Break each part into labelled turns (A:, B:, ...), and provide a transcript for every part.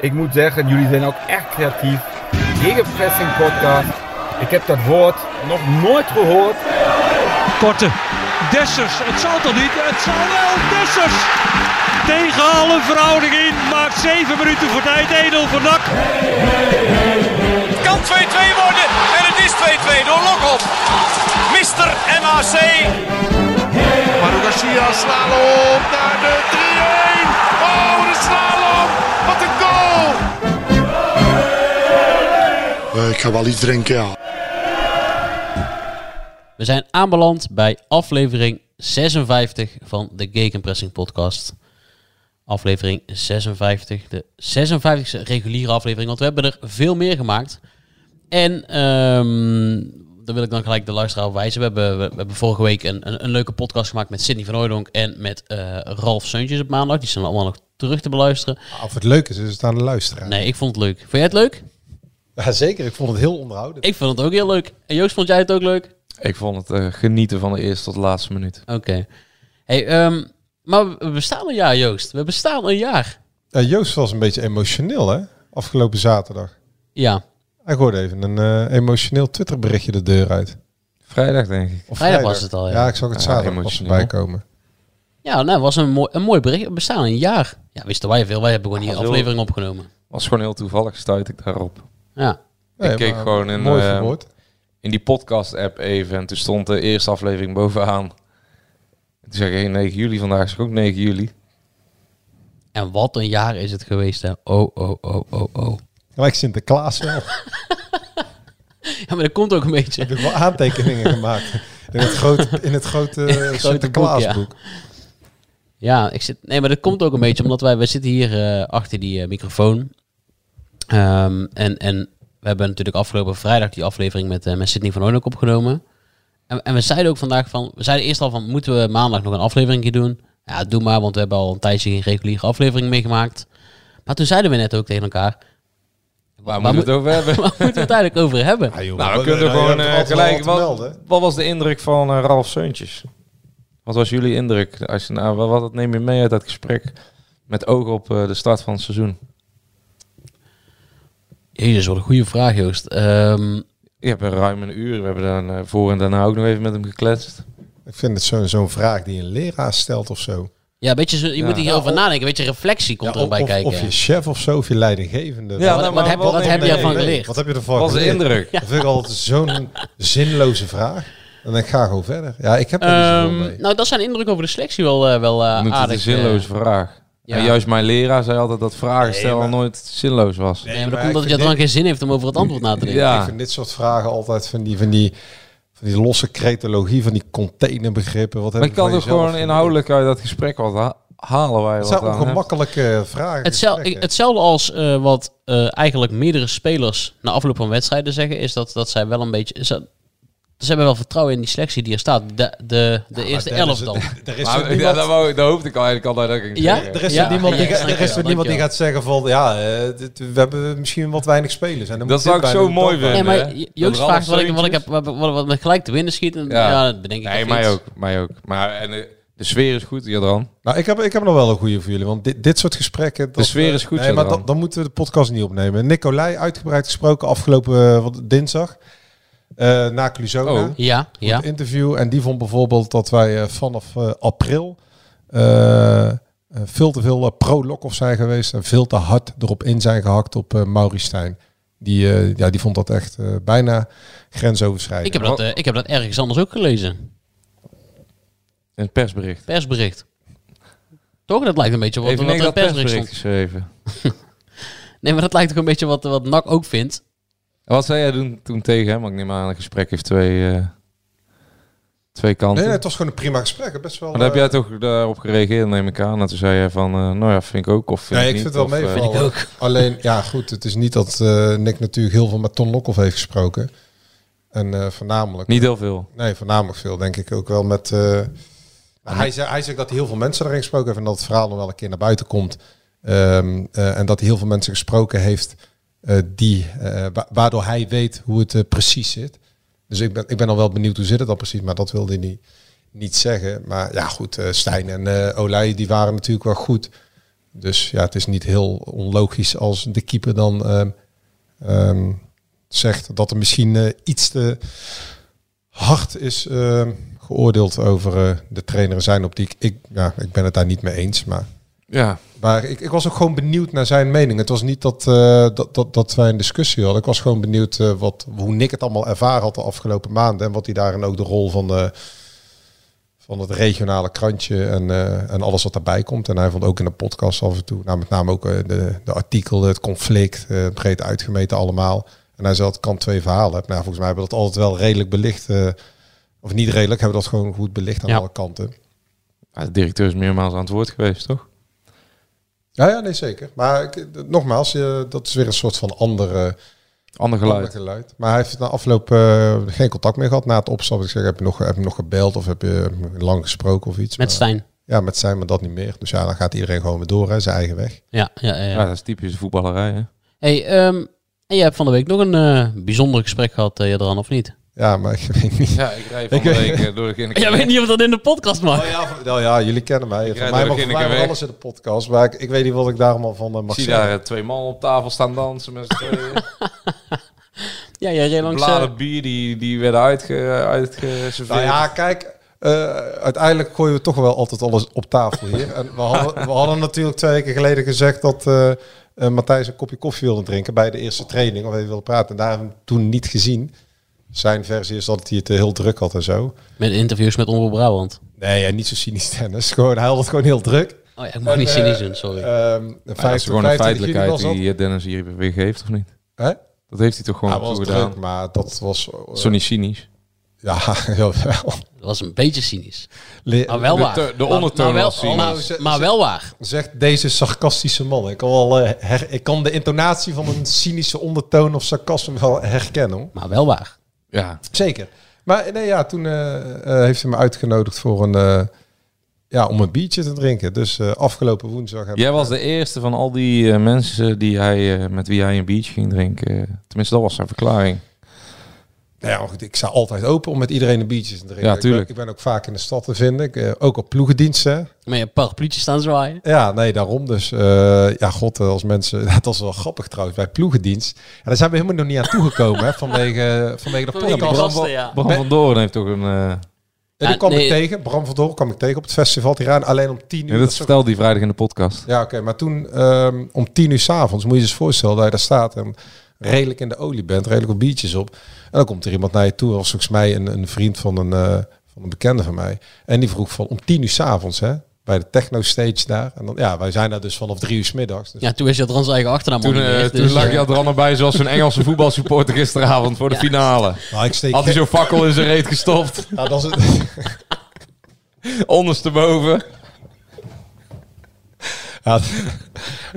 A: Ik moet zeggen, jullie zijn ook echt creatief. Gegenpressing podcast. Ik heb dat woord nog nooit gehoord.
B: Korte. Dessers. Het zal toch niet? Het zal wel. Dessers. Tegen alle verhouding in. Maakt 7 minuten voor tijd. Edel voor Dak.
C: Het kan 2-2 worden en het is 2-2 door Lokop. Mister MAC. Maru Garcia slalom naar de 3-1. Oh, de slalom. Wat een goal.
D: Eh, ik ga wel iets drinken, ja.
E: We zijn aanbeland bij aflevering 56 van de Gegenpressing Podcast. Aflevering 56, de 56e reguliere aflevering, want we hebben er veel meer gemaakt. En ehm daar wil ik dan gelijk de luisteraar op wijzen. We hebben, we, we hebben vorige week een, een, een leuke podcast gemaakt met Sidney van Hooydonk en met eh, Ralf Seuntjes op maandag. Die zijn allemaal nog terug te beluisteren.
F: Of het leuk is, is het aan de luisteraar.
E: Nee, ik vond het leuk. Vond jij het leuk?
F: Ja, zeker, ik vond het heel onderhoudend.
E: Ik vond het ook heel leuk. En Joost, vond jij het ook leuk?
G: Ik vond het eh, genieten van de eerste tot laatste minuut.
E: Oké. Hey, ehm, maar we bestaan een jaar, Joost. We bestaan een jaar.
F: Eh, Joost was een beetje emotioneel, hè? Afgelopen zaterdag.
E: Ja.
F: Hij hoorde even een eh, emotioneel Twitterberichtje de deur uit.
G: Vrijdag denk ik.
F: Of
E: Vrijdag was het al, ja.
F: Ja, ik zag het
G: Ja,
F: zaterdag pas
G: emotioneel.
F: voorbij komen.
E: Ja, nou, was een mooi, een mooi bericht. We bestaan een jaar. Ja, wisten wij veel. Wij hebben gewoon die
G: Ah, zo.
E: aflevering opgenomen.
G: Was gewoon heel toevallig stuit ik daarop.
E: Ja.
G: ik keek
F: maar
G: gewoon in,
F: Mooi
G: eh,
F: verwoord.
G: in die podcast app even en toen stond de eerste aflevering bovenaan. En toen zei ik, hey, 9 juli vandaag is ook 9 juli.
E: En wat een jaar is het geweest, hè. Oh, oh, oh, oh, oh.
F: Gelijk Sinterklaas wel.
E: Ja, maar dat komt ook een
F: Ik
E: beetje.
F: heb wel aantekeningen gemaakt. In het grote, in het grote,
E: boek,
F: Sinterklaasboek.
E: Ja, ik zit... Nee, maar dat komt ook een beetje omdat wij... We zitten hier eh, achter die eh, microfoon. Ehm, en, en we hebben natuurlijk afgelopen vrijdag die aflevering met, eh, met Sidney van Hoornhoek opgenomen. En, en we zeiden ook vandaag van... We zeiden eerst al van, moeten we maandag nog een aflevering doen? Ja, doe maar, want we hebben al een tijdje geen reguliere aflevering meegemaakt. Maar toen zeiden we net ook tegen elkaar...
G: Waar moeten we het over hebben?
E: Waar moeten we het eigenlijk over hebben?
F: Ah, joh,
G: nou, we
F: we-
G: kunnen
F: we- we
G: gewoon
F: hebben
G: eh,
F: altijd wel
G: gelijk...
F: wat te
G: Wat,
F: melden.
G: wat was de indruk van eh, Ralf Seuntjes? Wat was jullie indruk? Als je, nou, wat, wat neem je mee uit dat gesprek? Met oog op eh, de start van het seizoen.
E: Jezus, wat een goede vraag, Joost. Ehm,
G: Ik heb er ruim een uur. We hebben dan eh, voor en daarna ook nog even met hem gekletst.
F: Ik vind het zo- zo'n vraag die een leraar stelt of zo.
E: ja, beetje, zo- je moet hier heel
F: Ja,
E: van
F: of-
E: nadenken. Een beetje reflectie komt
F: Ja,
E: erbij
F: of,
E: kijken.
F: of je chef of zo, of je leidinggevende.
G: Ja,
E: wat-
G: nou,
E: wat
G: maar
E: heb-
G: wat
E: wat
G: neem
E: heb
G: je
E: jij
G: mee?
E: van geleerd?
F: Wat heb je ervan
G: Wat was de
F: geleerd?
G: indruk?
F: Dat vind ik altijd zo'n zinloze vraag. En ik ga gewoon verder. Ja, ik heb er niet
E: Ehm,
F: zoveel mee.
E: nou, dat zijn indruk over de selectie wel, eh, wel eh,
G: Dan noemt het
E: aardig.
G: een zinloze
E: eh.
G: vraag.
E: ja.
G: En juist mijn leraar zei altijd dat vragen stellen
F: maar-
G: nooit zinloos was.
E: nee, maar
F: maar
E: dat komt
F: ik
E: omdat je
F: vind
E: dan
F: dit-
E: geen zin heeft om over het antwoord na te denken.
G: Ja.
F: Ik vind dit soort vragen altijd van die, van die, van die losse cretologie, van die containerbegrippen. Wat heb
G: Maar ik kan
F: van
G: toch
F: jezelf
G: gewoon
F: geleerd?
G: inhoudelijk uit dat gesprek wat ha- halen wij
F: Het
G: wat
F: zijn
G: aan. hè?
F: ongemakkelijke vragen.
E: Hetzel-
F: gesprekken.
E: hetzelfde als eh, wat eh, eigenlijk meerdere spelers na afloop van wedstrijden zeggen, is dat, dat zij wel een beetje... Ze, ze hebben wel vertrouwen in die selectie die er staat. De, de, de eerste
F: Maar
E: elf
F: is-
E: dan.
F: Er is
G: Maar-
F: toch
G: ja,
F: niemand-
G: dat, wou, dat hoopte ik al eigenlijk al dat ik ging
E: Ja?
G: zeggen.
F: er is toch niemand die
E: ja,
F: ga- er is
E: dankjewel,
F: toch niemand die
E: dankjewel.
F: gaat zeggen van ja, eh, dit- we hebben misschien wat weinig spelers. En dan
G: Dat
F: moet dit
G: zou ik
F: bij,
G: zo
F: dan moet
G: mooi
F: dat bij.
E: Nee,
G: vinden.
E: maar
G: hè? Dat
E: Joost
G: Ralf
E: vraagt wat ik, wat ik heb,
G: Seuntjes-
E: wat, wat, wat me gelijk te winnen schiet. En, ja.
G: Ja.
E: dat bedenk ik
G: Nee,
E: of
G: mij
E: iets.
G: ook, mij ook. Maar en de, de sfeer is goed hier dan.
F: Nou, ik heb, ik heb nog wel een goede voor jullie, want dit, dit soort gesprekken... dat-
G: sfeer is goed,
F: Nee,
G: ja,
F: maar
G: dan.
F: dan, dan moeten we de podcast niet opnemen. Nicolai, uitgebreid gesproken afgelopen eh, wat- dinsdag eh, na Cluzona.
G: Oh.
F: Goed
E: Ja, ja.
F: interview. En die vond bijvoorbeeld dat wij eh, vanaf eh, april eh, eh, veel te veel eh, pro-Lokhoff zijn geweest. En veel te hard erop in zijn gehakt op eh Mauri Stijn. Die, eh, ja, die vond dat echt eh, bijna grensoverschrijdend.
E: Ik heb, dat, eh, ik heb dat ergens anders ook gelezen.
G: In het persbericht.
E: Persbericht. Toch? Dat lijkt een beetje op wat,
G: Even
E: wat er
G: niks
E: in het
G: dat
E: persbericht
G: persbericht
E: stond.
G: geschreven.
E: Nee, maar dat lijkt ook een beetje wat, wat NAC ook vindt.
G: En wat zei jij toen, toen tegen hem? Want ik neem aan, een gesprek heeft twee, eh, twee kanten.
F: Nee, nee, het was gewoon een prima gesprek. Best wel,
G: maar daar heb
F: eh,
G: jij toch daarop gereageerd, neem ik aan. En toen zei jij van, eh, nou ja, vind ik ook. Of vind
F: ja,
G: ik
F: ik
G: niet,
F: vind het wel
G: of, eh,
F: meevallen. Alleen, ja goed, het is niet dat eh, Nick natuurlijk heel veel met Ton Lokhoff heeft gesproken. En eh, voornamelijk...
G: Niet heel veel.
F: Nee, voornamelijk veel, denk ik. Ook wel met... eh, maar hij, zei, hij zegt dat hij heel veel mensen erin gesproken heeft en dat het verhaal nog wel een keer naar buiten komt. Ehm, eh, en dat hij heel veel mensen gesproken heeft eh, die, eh, wa- waardoor hij weet hoe het eh, precies zit. Dus ik ben, ik ben al wel benieuwd hoe zit het dan precies, maar dat wilde hij niet, niet zeggen. Maar ja, goed, eh, Stijn en eh Olij, die waren natuurlijk wel goed. Dus ja, het is niet heel onlogisch als de keeper dan ehm, ehm, zegt dat er misschien eh, iets te hard is ehm, geoordeeld over eh, de trainer in zijn optiek. Ik, ja, ik ben het daar niet mee eens, maar...
G: Ja,
F: Maar ik, ik was ook gewoon benieuwd naar zijn mening. Het was niet dat, eh, dat, dat, dat wij een discussie hadden. Ik was gewoon benieuwd eh, wat, hoe Nick het allemaal ervaren had de afgelopen maanden. En wat hij daarin ook de rol van, eh, van het regionale krantje en, eh, en alles wat daarbij komt. En hij vond ook in de podcast af en toe, nou, met name ook eh, de, de artikelen, het conflict, eh, breed uitgemeten allemaal. En hij zei dat het kan twee verhalen hebben. Nou, volgens mij hebben we dat altijd wel redelijk belicht. eh, of niet redelijk, hebben we dat gewoon goed belicht aan
E: Ja.
F: alle kanten.
G: Ja, de directeur is meermaals aan het woord geweest, toch?
F: Ja, ja, nee, zeker. Maar ik, eh, nogmaals, eh, dat is weer een soort van andere
G: Ander
F: ander
G: geluid.
F: geluid. Maar hij heeft na afloop eh, geen contact meer gehad na het opstappen. Ik zeg, heb je nog, heb je nog gebeld of heb je lang gesproken of iets?
E: Met
F: Maar-
E: Stijn.
F: Ja, met zijn, maar dat niet meer. Dus ja, dan gaat iedereen gewoon weer door, hè, zijn eigen weg.
E: Ja, ja, ja.
G: Ja, dat is typisch voetballerij, hè?
E: Hey, ehm, en jij hebt van de week nog een eh, bijzonder gesprek gehad, uh, Jadran, of niet?
F: Ja, maar ik weet niet.
G: Ja, ik rij van de week eh, door de
E: Jij
G: kinderkamer.
E: weet niet of dat in de podcast mag.
F: Oh ja, van- nou ja, jullie kennen mij. Van
G: rijd
F: mij
G: door
F: mag
G: de
F: van mij mag
G: Kinnikenweg.
F: alles in de podcast. Maar ik, ik weet niet wat ik daar allemaal van eh,
G: Ik
F: mag
G: zie
F: zeggen.
G: daar eh, twee mannen op tafel staan dansen met z'n tweeën.
E: Ja, jij reed langs... eh,
G: Bladen bier die, die werden uitge, uitgeserveerd.
F: Nou ja, kijk, eh, uiteindelijk gooien we toch wel altijd alles op tafel hier. En we, hadden, we hadden natuurlijk twee weken geleden gezegd dat eh, eh, Matthijs een kopje koffie wilde drinken bij de eerste training. Of even wilde praten. En daar hebben we hem toen niet gezien. Zijn versie is dat hij het eh, heel druk had en zo.
E: Met interviews met Omroep Brabant.
F: Nee, ja, niet zo cynisch tennis. Gewoon, hij had het gewoon heel druk.
E: Oh ja, ik mag
F: En,
E: niet
F: eh,
E: cynisch doen, sorry.
F: Ehm, 25
G: gewoon
F: 25 juli
G: een feitelijkheid
F: was dat.
G: die eh, Dennis hier weer geeft, of niet?
F: Hè?
G: Dat heeft hij toch
F: Hij
G: gewoon
F: was
G: toegedaan?
F: druk, maar dat was... eh,
G: Zo niet cynisch.
F: ja, heel wel.
E: dat was een beetje cynisch.
F: Le-
E: Maar wel
G: de
E: waar.
G: te- de
E: Maar-
G: ondertoon
E: maar, wel,
G: was cynisch.
E: maar-
F: Nou, ze-
E: maar
F: ze-
E: wel waar.
F: Zegt deze sarcastische man. Ik kan, wel, eh, her- ik kan de intonatie van een cynische ondertoon of sarcasme wel herkennen. hoor.
E: Maar wel waar.
G: Ja,
F: Zeker. Maar eh, nee, ja, toen eh, eh, heeft hij me uitgenodigd voor een, eh, ja, om een biertje te drinken. Dus eh, afgelopen woensdag heb
G: Jij was de eerste van al die eh, mensen die hij, eh, met wie hij een biertje ging drinken. Tenminste, dat was zijn verklaring.
F: Nou ja, maar goed, ik sta altijd open om met iedereen een biertje te drinken.
G: Ja,
F: Ik ben-
G: tuurlijk.
F: Ik ben, ook vaak in de stad te vinden. Ik, eh, ook op ploegendiensten.
E: Met je parapluutje staan zwaaien.
F: Ja, nee, daarom dus. eh, ja, god, als mensen... Dat was wel grappig trouwens, bij ploegendienst. En daar zijn we helemaal nog niet aan toegekomen, hè, vanwege, vanwege de
E: Vanwege de
F: podcast.
E: gasten, ja.
G: Bram van Doorn heeft toch een... eh,
F: En
E: Ja,
F: die kwam
E: nee.
F: ik tegen, Bram van Doorn kwam ik tegen op het festival. Die raad alleen om tien uur.
G: ja, dat
F: is ook-
G: vertelde hij vrijdag in de podcast.
F: Ja, oké, maar toen ehm, om tien uur s'avonds moet je je eens voorstellen dat je daar staat en redelijk in de olie bent, redelijk op biertjes op. En dan komt er iemand naar je toe, als volgens mij een, een vriend van een, eh, van een bekende van mij. En die vroeg van om tien uur s'avonds, hè, bij de techno stage daar. En dan, ja, wij zijn daar dus vanaf drie uur smiddags. Dus
E: Ja, toen is Jadran zijn eigen achternaam
G: Toen,
E: al niet
G: eh,
E: meer,
G: toen
E: dus,
G: lag
E: eh,
G: je er allemaal bij zoals een Engelse voetbalsupporter gisteravond voor de
E: Ja.
G: finale.
F: nou, ik steek
G: Had hij
F: geen-
G: zo'n fakkel in zijn reet gestopt,
F: Nou, dat is het.
G: ondersteboven.
F: Ja,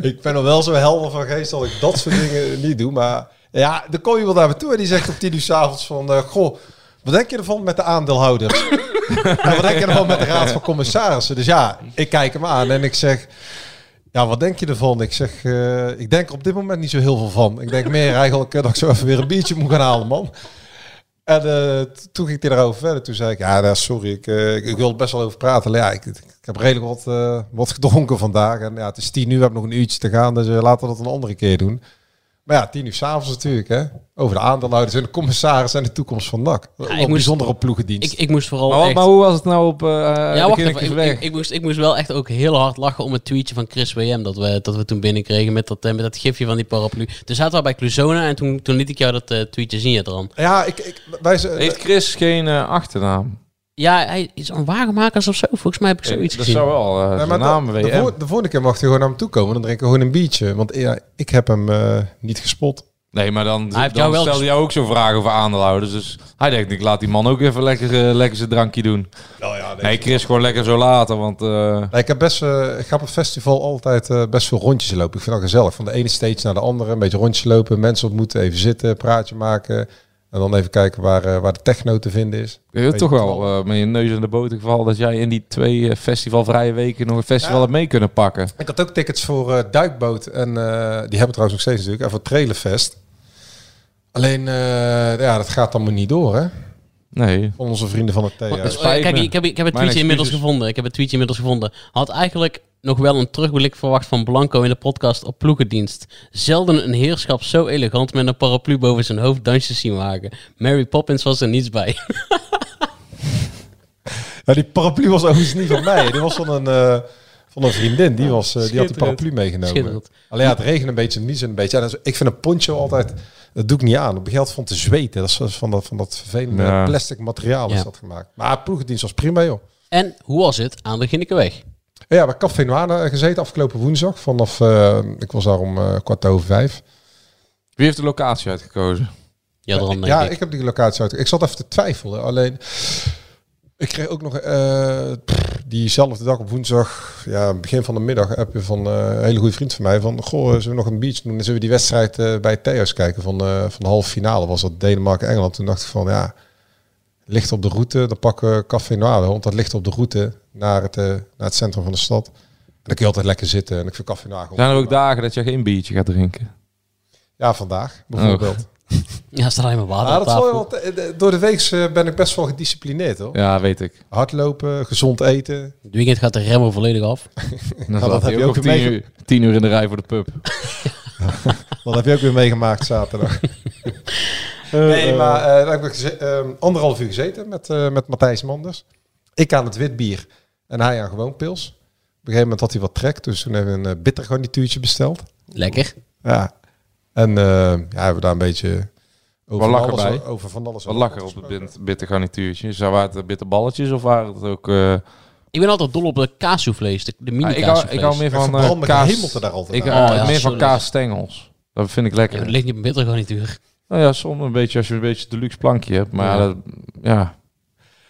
F: ik ben er wel zo helder van geest dat ik dat soort dingen niet doe. Maar ja, dan kom je wel naar me toe en die zegt op tien uur s'avonds van... eh, goh, wat denk je ervan met de aandeelhouders? en Nou, wat denk je ervan met de raad van commissarissen? Dus ja, ik kijk hem aan en ik zeg... Ja, wat denk je ervan? Ik zeg, eh, ik denk er op dit moment niet zo heel veel van. Ik denk meer eigenlijk eh, dat ik zo even weer een biertje moet gaan halen, man. En eh, t- toen ging ik daarover verder. Toen zei ik, ja, nou, sorry, ik, eh, ik, ik wil er best wel over praten. Maar ja, ik, ik heb redelijk wat, eh, wat gedronken vandaag. En ja, het is tien uur, we hebben nog een uurtje te gaan. Dus eh, laten we dat een andere keer doen. Maar ja, tien uur s'avonds natuurlijk, hè. Over de aandeelhouders en de commissaris en de toekomst van NAC.
E: ik
F: Ook
E: moest-
F: bijzonder op
E: ik,
F: ploegendienst.
E: ik moest vooral
G: Maar, wat-
E: echt...
G: maar hoe was het nou op eh
E: ja,
G: ja,
E: wacht even. Ik, ik, ik moest, ik moest wel echt ook heel hard lachen om het tweetje van Chris WM dat we, dat we toen binnenkregen met dat, eh, met dat gifje van die paraplu. Toen zaten we bij Cluzona en toen, toen liet ik jou dat eh, tweetje zien, Jadran.
F: Ja, ik, ik, wij zijn...
G: Heeft Chris geen eh, achternaam?
E: Ja, hij is een wagenmakers of zo. Volgens mij heb ik zoiets
G: dat
E: gezien.
G: zou wel eh
F: Nee,
G: zijn
F: maar
G: naam
F: de,
G: WM.
F: de, voor- de volgende keer mag hij gewoon naar hem toe komen. Dan drinken we gewoon een biertje. Want ja, ik heb hem eh, niet gespot.
G: Nee, maar dan,
E: Hij heeft
G: dan
E: jou wel
G: stelde
E: gesp-
G: jou ook zo'n vraag over aandeelhouders. Dus hij denkt, ik laat die man ook even lekker, eh, lekker zijn drankje doen. nee, Chris gewoon lekker zo later, want... eh,
F: Nee, ik, heb best, eh, ik ga op het festival altijd eh, best veel rondjes lopen. Ik vind dat gezellig. Van de ene stage naar de andere. Een beetje rondjes lopen, mensen ontmoeten, even zitten, praatje maken. En dan even kijken waar, eh, waar de techno te vinden is.
G: Je hebt
F: Weet
G: toch
F: je
G: wel eh, met je neus aan de boter geval dat jij in die twee eh, festivalvrije weken nog een festival
F: Ja.
G: hebt mee kunnen pakken.
F: Ik had ook tickets voor eh, Duikboot. En eh, die hebben we trouwens nog steeds natuurlijk. En voor Trailerfest. Alleen, eh, ja, dat gaat allemaal niet door, hè?
G: Nee.
F: Van onze vrienden van het
E: Maar-
F: TH.
E: eh,
G: spijt
E: Kijk,
G: me.
E: ik heb, ik heb het
G: Mijn
E: tweetje inmiddels
G: excuses.
E: gevonden. Ik heb het tweetje inmiddels gevonden. Had eigenlijk nog wel een terugblik verwacht van Blanco in de podcast op ploegendienst. Zelden een heerschap zo elegant met een paraplu boven zijn hoofd dansjes zien wagen. Mary Poppins was er niets bij.
F: Ja, die paraplu was overigens niet van mij. Die was van een, eh, van een vriendin. Die, was, eh, die had de
E: Schitterend.
F: paraplu meegenomen.
E: Schitterend.
F: Alleen ja, het regent een beetje, niet een beetje. Ja, dat is- ik vind een poncho altijd... Dat doe ik niet aan. Op geld van te zweten. Dat is van dat, van dat vervelende
G: Ja.
F: plastic materiaal is
E: Ja.
F: dat gemaakt. Maar ploegendienst was prima, joh.
E: En hoe was het aan de Ginnekeweg?
F: Ja, bij Café Noana gezeten afgelopen woensdag. Vanaf, eh, ik was daar om eh, kwart over vijf.
G: Wie heeft de locatie uitgekozen?
E: Ja,
G: Eh,
E: dan denk
F: ja,
E: ik.
F: ik. heb die locatie uit. Ik zat even te twijfelen. Alleen, ik kreeg ook nog eh, pff, diezelfde dag op woensdag, ja, begin van de middag, heb je van eh, een hele goede vriend van mij van, goh, zullen we nog een beach doen? En zullen we die wedstrijd eh, bij Theo's kijken van, eh van de halve finale? Was dat Denemarken-Engeland? Toen dacht ik van, ja, ligt op de route, dan pakken we Café Noir, want dat ligt op de route naar het, eh, naar het centrum van de stad. En dan kun je altijd lekker zitten en ik vind Café Noir gewoon-
G: Zijn er ook dagen dat je geen biertje gaat drinken?
F: Ja, vandaag bijvoorbeeld.
E: Oh. Ja, staat alleen maar water
F: Ah,
E: op
F: dat zal
E: tafel.
F: je wel te- door de week eh, ben ik best wel gedisciplineerd hoor.
G: Ja, weet ik.
F: Hardlopen, gezond eten.
E: Het weekend gaat de remmer volledig af.
G: Dan
F: dat
G: zat
F: heb
G: hij
F: je
G: ook
F: ook
G: om
F: mee-
G: tien uur, tien uur in de rij voor de pub.
F: Dat heb je ook weer meegemaakt zaterdag. nee, maar eh, daar heb ik geze- eh, anderhalf uur gezeten met, eh, met Matthijs Manders. Ik aan het witbier en hij aan gewoon pils. Op een gegeven moment had hij wat trek, dus toen hebben we een eh, bitter garnituurtje besteld.
E: Lekker.
F: Ja. En eh, ja, hebben we daar een beetje over,
G: Wat
F: van
G: lachen
F: alles,
G: bij.
F: over van alles.
G: Wat lachen op het bit- bitter garnituurtje. Zijn waren het bitter balletjes of waren het ook... eh, Ah,
E: Ik ben altijd dol op de kaassoufflés, de, de mini
G: ik, hou, ik hou meer
F: Ik
G: van eh,
F: verbrand me
G: kaas...
F: gehemelte daar altijd
G: Ik
F: aan.
G: hou
E: Oh, ja,
G: meer van
E: sorry.
G: kaasstengels. Dat vind ik lekker.
E: Het ligt niet op bitter gewoon niet duur.
G: Nou ja, soms een beetje als je een beetje deluxe plankje hebt. Maar ja,
E: Ja.
G: dat, ja.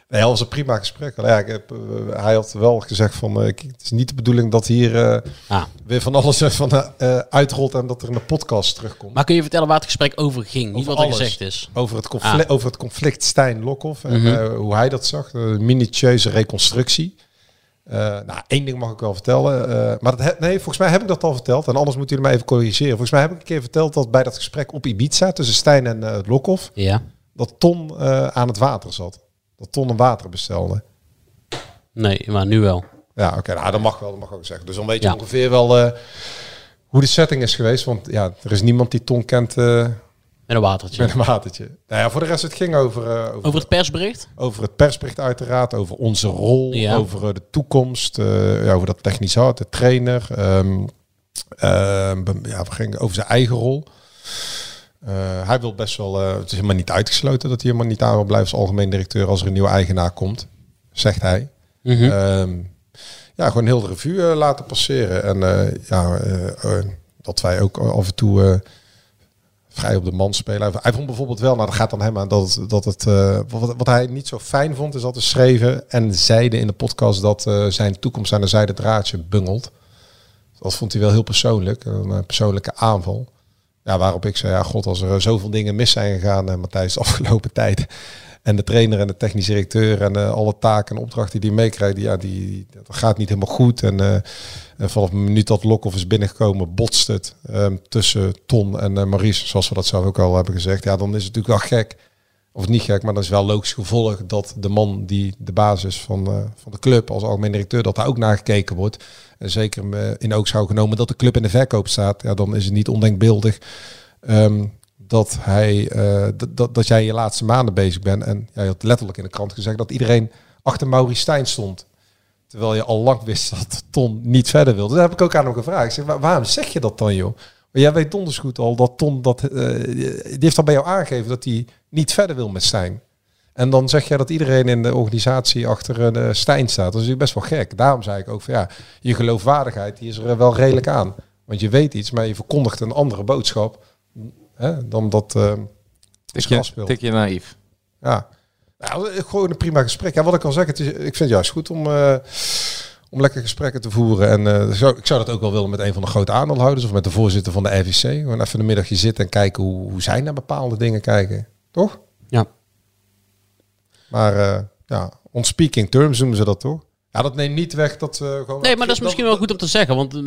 F: Nee, dat was een prima gesprek. Ja, ik heb, eh, hij had wel gezegd van, eh, kijk, het is niet de bedoeling dat hier eh,
E: Ah.
F: weer van alles eh, van, eh, eh, uitrolt en dat er een podcast terugkomt.
E: Maar kun je vertellen waar het gesprek over ging? niet
F: Over
E: wat er
F: alles.
E: gezegd is. Ah. Mhm.
F: over, het conflict, over het conflict Stijn Lokhoff en eh, hoe hij dat zag. Een minutieuze reconstructie. Eh, nou, één ding mag ik wel vertellen. eh, maar dat he- nee, volgens mij heb ik dat al verteld. En anders moeten jullie mij even corrigeren. Volgens mij heb ik een keer verteld dat bij dat gesprek op Ibiza tussen Stijn en eh Lokhoff,
E: Ja.
F: dat Ton eh, aan het water zat. Dat Ton een water bestelde.
E: Nee, maar nu wel.
F: Ja, oké, nou, dat mag wel, dat mag ook zeggen. Dus dan weet je
E: Ja.
F: ongeveer wel eh, hoe de setting is geweest. Want ja, er is niemand die Ton kent eh,
E: Met een watertje.
F: met een watertje. Nou ja, voor de rest, het ging over, eh, over,
E: Over het persbericht?
F: over het persbericht uiteraard, over onze rol,
E: Ja.
F: over eh, de toekomst, eh, ja, over dat technisch hart, de trainer. ehm, ehm, be- ja, we gingen over zijn eigen rol. Eh, hij wil best wel, eh, het is helemaal niet uitgesloten dat hij helemaal niet aan wil blijven als algemeen directeur als er een nieuwe eigenaar komt, zegt hij. Ehm, ja, gewoon heel de revue eh, laten passeren. En eh, ja, eh, eh, dat wij ook af en toe eh, vrij op de man spelen. Hij- Hij vond bijvoorbeeld wel, nou dat gaat dan hem aan, dat, het- dat het, eh, wat, wat hij niet zo fijn vond, is dat we schreven en zeiden in de podcast dat eh, zijn toekomst aan een zijde draadje bungelt. Dat vond hij wel heel persoonlijk, een eh, persoonlijke aanval. Ja, waarop ik zei, ja god, als er eh, zoveel dingen mis zijn gegaan, eh, Matthijs, de afgelopen tijd. En de trainer en de technische directeur en eh, alle taken en opdrachten die hij meekrijgt, die, ja, die, dat gaat niet helemaal goed. En, eh, en vanaf het minuut dat Lokhoff is binnengekomen, botst het ehm, tussen Ton en eh, Maurice, zoals we dat zelf ook al hebben gezegd. Ja, dan is het natuurlijk wel gek, of niet gek, maar dat is wel logisch gevolg dat de man die de basis van, eh, van de club als algemeen directeur, dat daar ook naar gekeken wordt. En zeker eh, in oogschouw genomen dat de club in de verkoop staat, ja, dan is het niet ondenkbeeldig ehm, dat, hij, eh, dat- dat, dat jij je laatste maanden bezig bent. En jij had letterlijk in de krant gezegd dat iedereen achter Mauri Stijn stond. Terwijl je al lang wist dat Ton niet verder wilde. Daar heb ik ook aan hem gevraagd. Ik zeg, "Wa- waarom zeg je dat dan, joh? Maar jij weet donders goed al dat Ton dat... eh, die heeft al bij jou aangegeven dat hij niet verder wil met Stijn. En dan zeg jij dat iedereen in de organisatie achter eh Stijn staat. Dat is natuurlijk best wel gek. Daarom zei ik ook van ja, je geloofwaardigheid die is er eh, wel redelijk aan. Want je weet iets, maar je verkondigt een andere boodschap Hè, dan dat eh is
G: Tikje, tikje naïef.
F: ja. Nou, gewoon een prima gesprek. Ja, wat ik al zeg, het is, ik vind het juist goed om, eh, om lekker gesprekken te voeren. En eh, zou, ik zou dat ook wel willen met een van de grote aandeelhouders of met de voorzitter van de RVC. Gewoon even een middagje zitten en kijken hoe, hoe zij naar bepaalde dingen kijken. Toch?
E: Ja.
F: Maar eh, ja, on speaking terms noemen ze dat toch? Ja, dat neemt niet weg dat we gewoon...
E: Nee, maar dat is misschien wel goed om te zeggen. Want eh,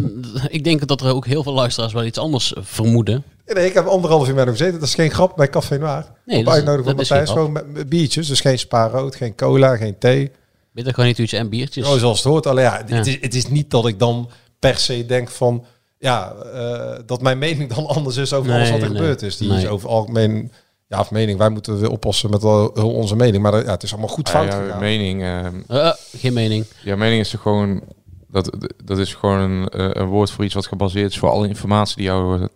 E: ik denk dat er ook heel veel luisteraars wel iets anders eh, vermoeden.
F: Nee, ik heb anderhalf uur met hem gezeten. Dat is geen grap bij Café Noir.
E: Nee,
F: Op
E: dat is-
F: uitnodiging van
E: dat is geen
F: Matthijs.
E: grap.
F: Gewoon met, met biertjes. Dus geen spa rood, geen cola, geen thee.
E: Bitter garnituurtje en biertjes.
F: Oh, zoals het hoort. Alleen ja,
E: Ja.
F: Het, is, het is niet dat ik dan per se denk van... Ja, eh, dat mijn mening dan anders is over
E: Nee,
F: alles wat er
E: nee.
F: gebeurd is. Die
E: Nee.
F: is over algemeen... Ja, of mening. Wij moeten weer oppassen met al, heel onze mening. Maar eh, ja, het is allemaal goed fout
G: Ja, jouw
F: gegaan.
G: mening, eh,
E: Eh, eh, geen mening.
G: jouw mening is toch gewoon... Dat, dat is gewoon een, eh, een woord voor iets wat gebaseerd is voor alle informatie die jou eh,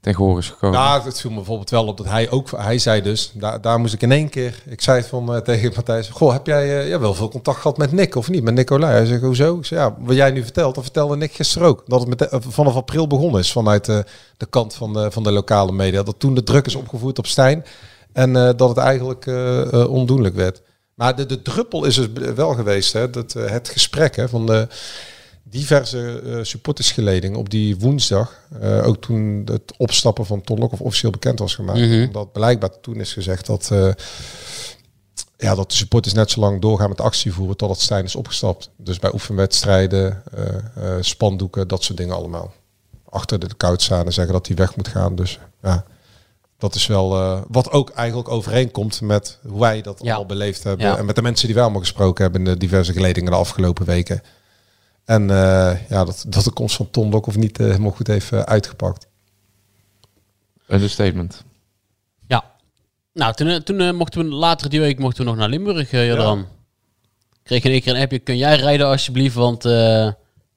G: ten gehoor is gekomen.
F: Nou, het viel me bijvoorbeeld wel op dat hij ook, hij zei dus, daar, daar moest ik in één keer, ik zei het van eh, tegen Matthijs, goh, heb jij eh, ja, wel veel contact gehad met Nick of niet, met Nicolai? Hij zegt, hoezo? Ik zei, ja, wat jij nu vertelt, dat vertelde Nick gisteren ook. Dat het met, eh, vanaf april begonnen is vanuit eh, de kant van de, van de lokale media. Dat toen de druk is opgevoerd op Stijn en eh, dat het eigenlijk eh, eh, ondoenlijk werd. Maar de, de druppel is dus wel geweest, hè, dat, eh, het gesprek hè, van de diverse eh supportersgeledingen op die woensdag, eh, ook toen het opstappen van Ton Lokhoff officieel bekend was gemaakt,
E: Mhm.
F: omdat blijkbaar toen is gezegd dat, eh, ja, dat de supporters net zo lang doorgaan met actie voeren totdat Stijn is opgestapt. Dus bij oefenwedstrijden, eh, eh, spandoeken, dat soort dingen allemaal. Achter de koud staan en zeggen dat hij weg moet gaan. Dus ja, dat is wel eh, wat ook eigenlijk overeenkomt met hoe wij dat
E: Ja.
F: al beleefd hebben.
E: Ja.
F: En met de mensen die wij allemaal gesproken hebben in de diverse geledingen de afgelopen weken. En eh, ja, dat, dat de komst van Ton Lokhoff niet eh, helemaal goed heeft eh, uitgepakt.
G: Een statement.
E: Ja. Nou, toen, eh, toen eh, mochten we later die week mochten we nog naar Limburg, eh Jadran. Kreeg in één keer een appje, kun jij rijden alsjeblieft, want eh,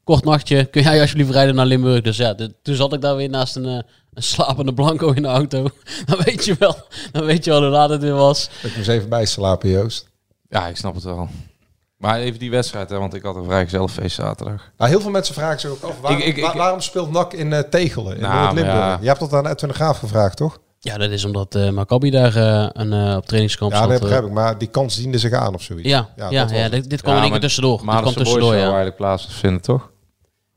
E: kort nachtje, kun jij alsjeblieft rijden naar Limburg? Dus ja, dit- toen zat ik daar weer naast een, eh, een slapende blanco in de auto. dan, weet je wel, dan weet je wel hoe laat het weer was.
F: Ik moest even bijslapen, Joost.
G: Ja, ik snap het wel. Maar even die wedstrijd, hè, want ik had een vrijgezellenfeest zaterdag.
F: Nou, heel veel mensen vragen zich ook af, waarom,
G: Ik- ik- ik-
F: waar- waarom speelt NAC in eh, Tegelen, in
G: Nou,
F: Noord-Limburg?
G: maar ja.
F: Je hebt dat aan Edwin de Graaf gevraagd, toch?
E: Ja, dat is omdat eh Maccabi daar eh, een, eh, op trainingskamp
F: Ja,
E: zat.
F: dat
E: eh.
F: begrijp ik, maar die kans diende zich aan of zoiets.
E: Ja, ja,
F: Ja,
E: ja,
F: dat was het.
E: dit, dit kwam in één keer tussendoor.
G: Maar
E: Dit kwam
G: dat
E: tussendoor, ja.
G: eigenlijk plaatsvinden, toch?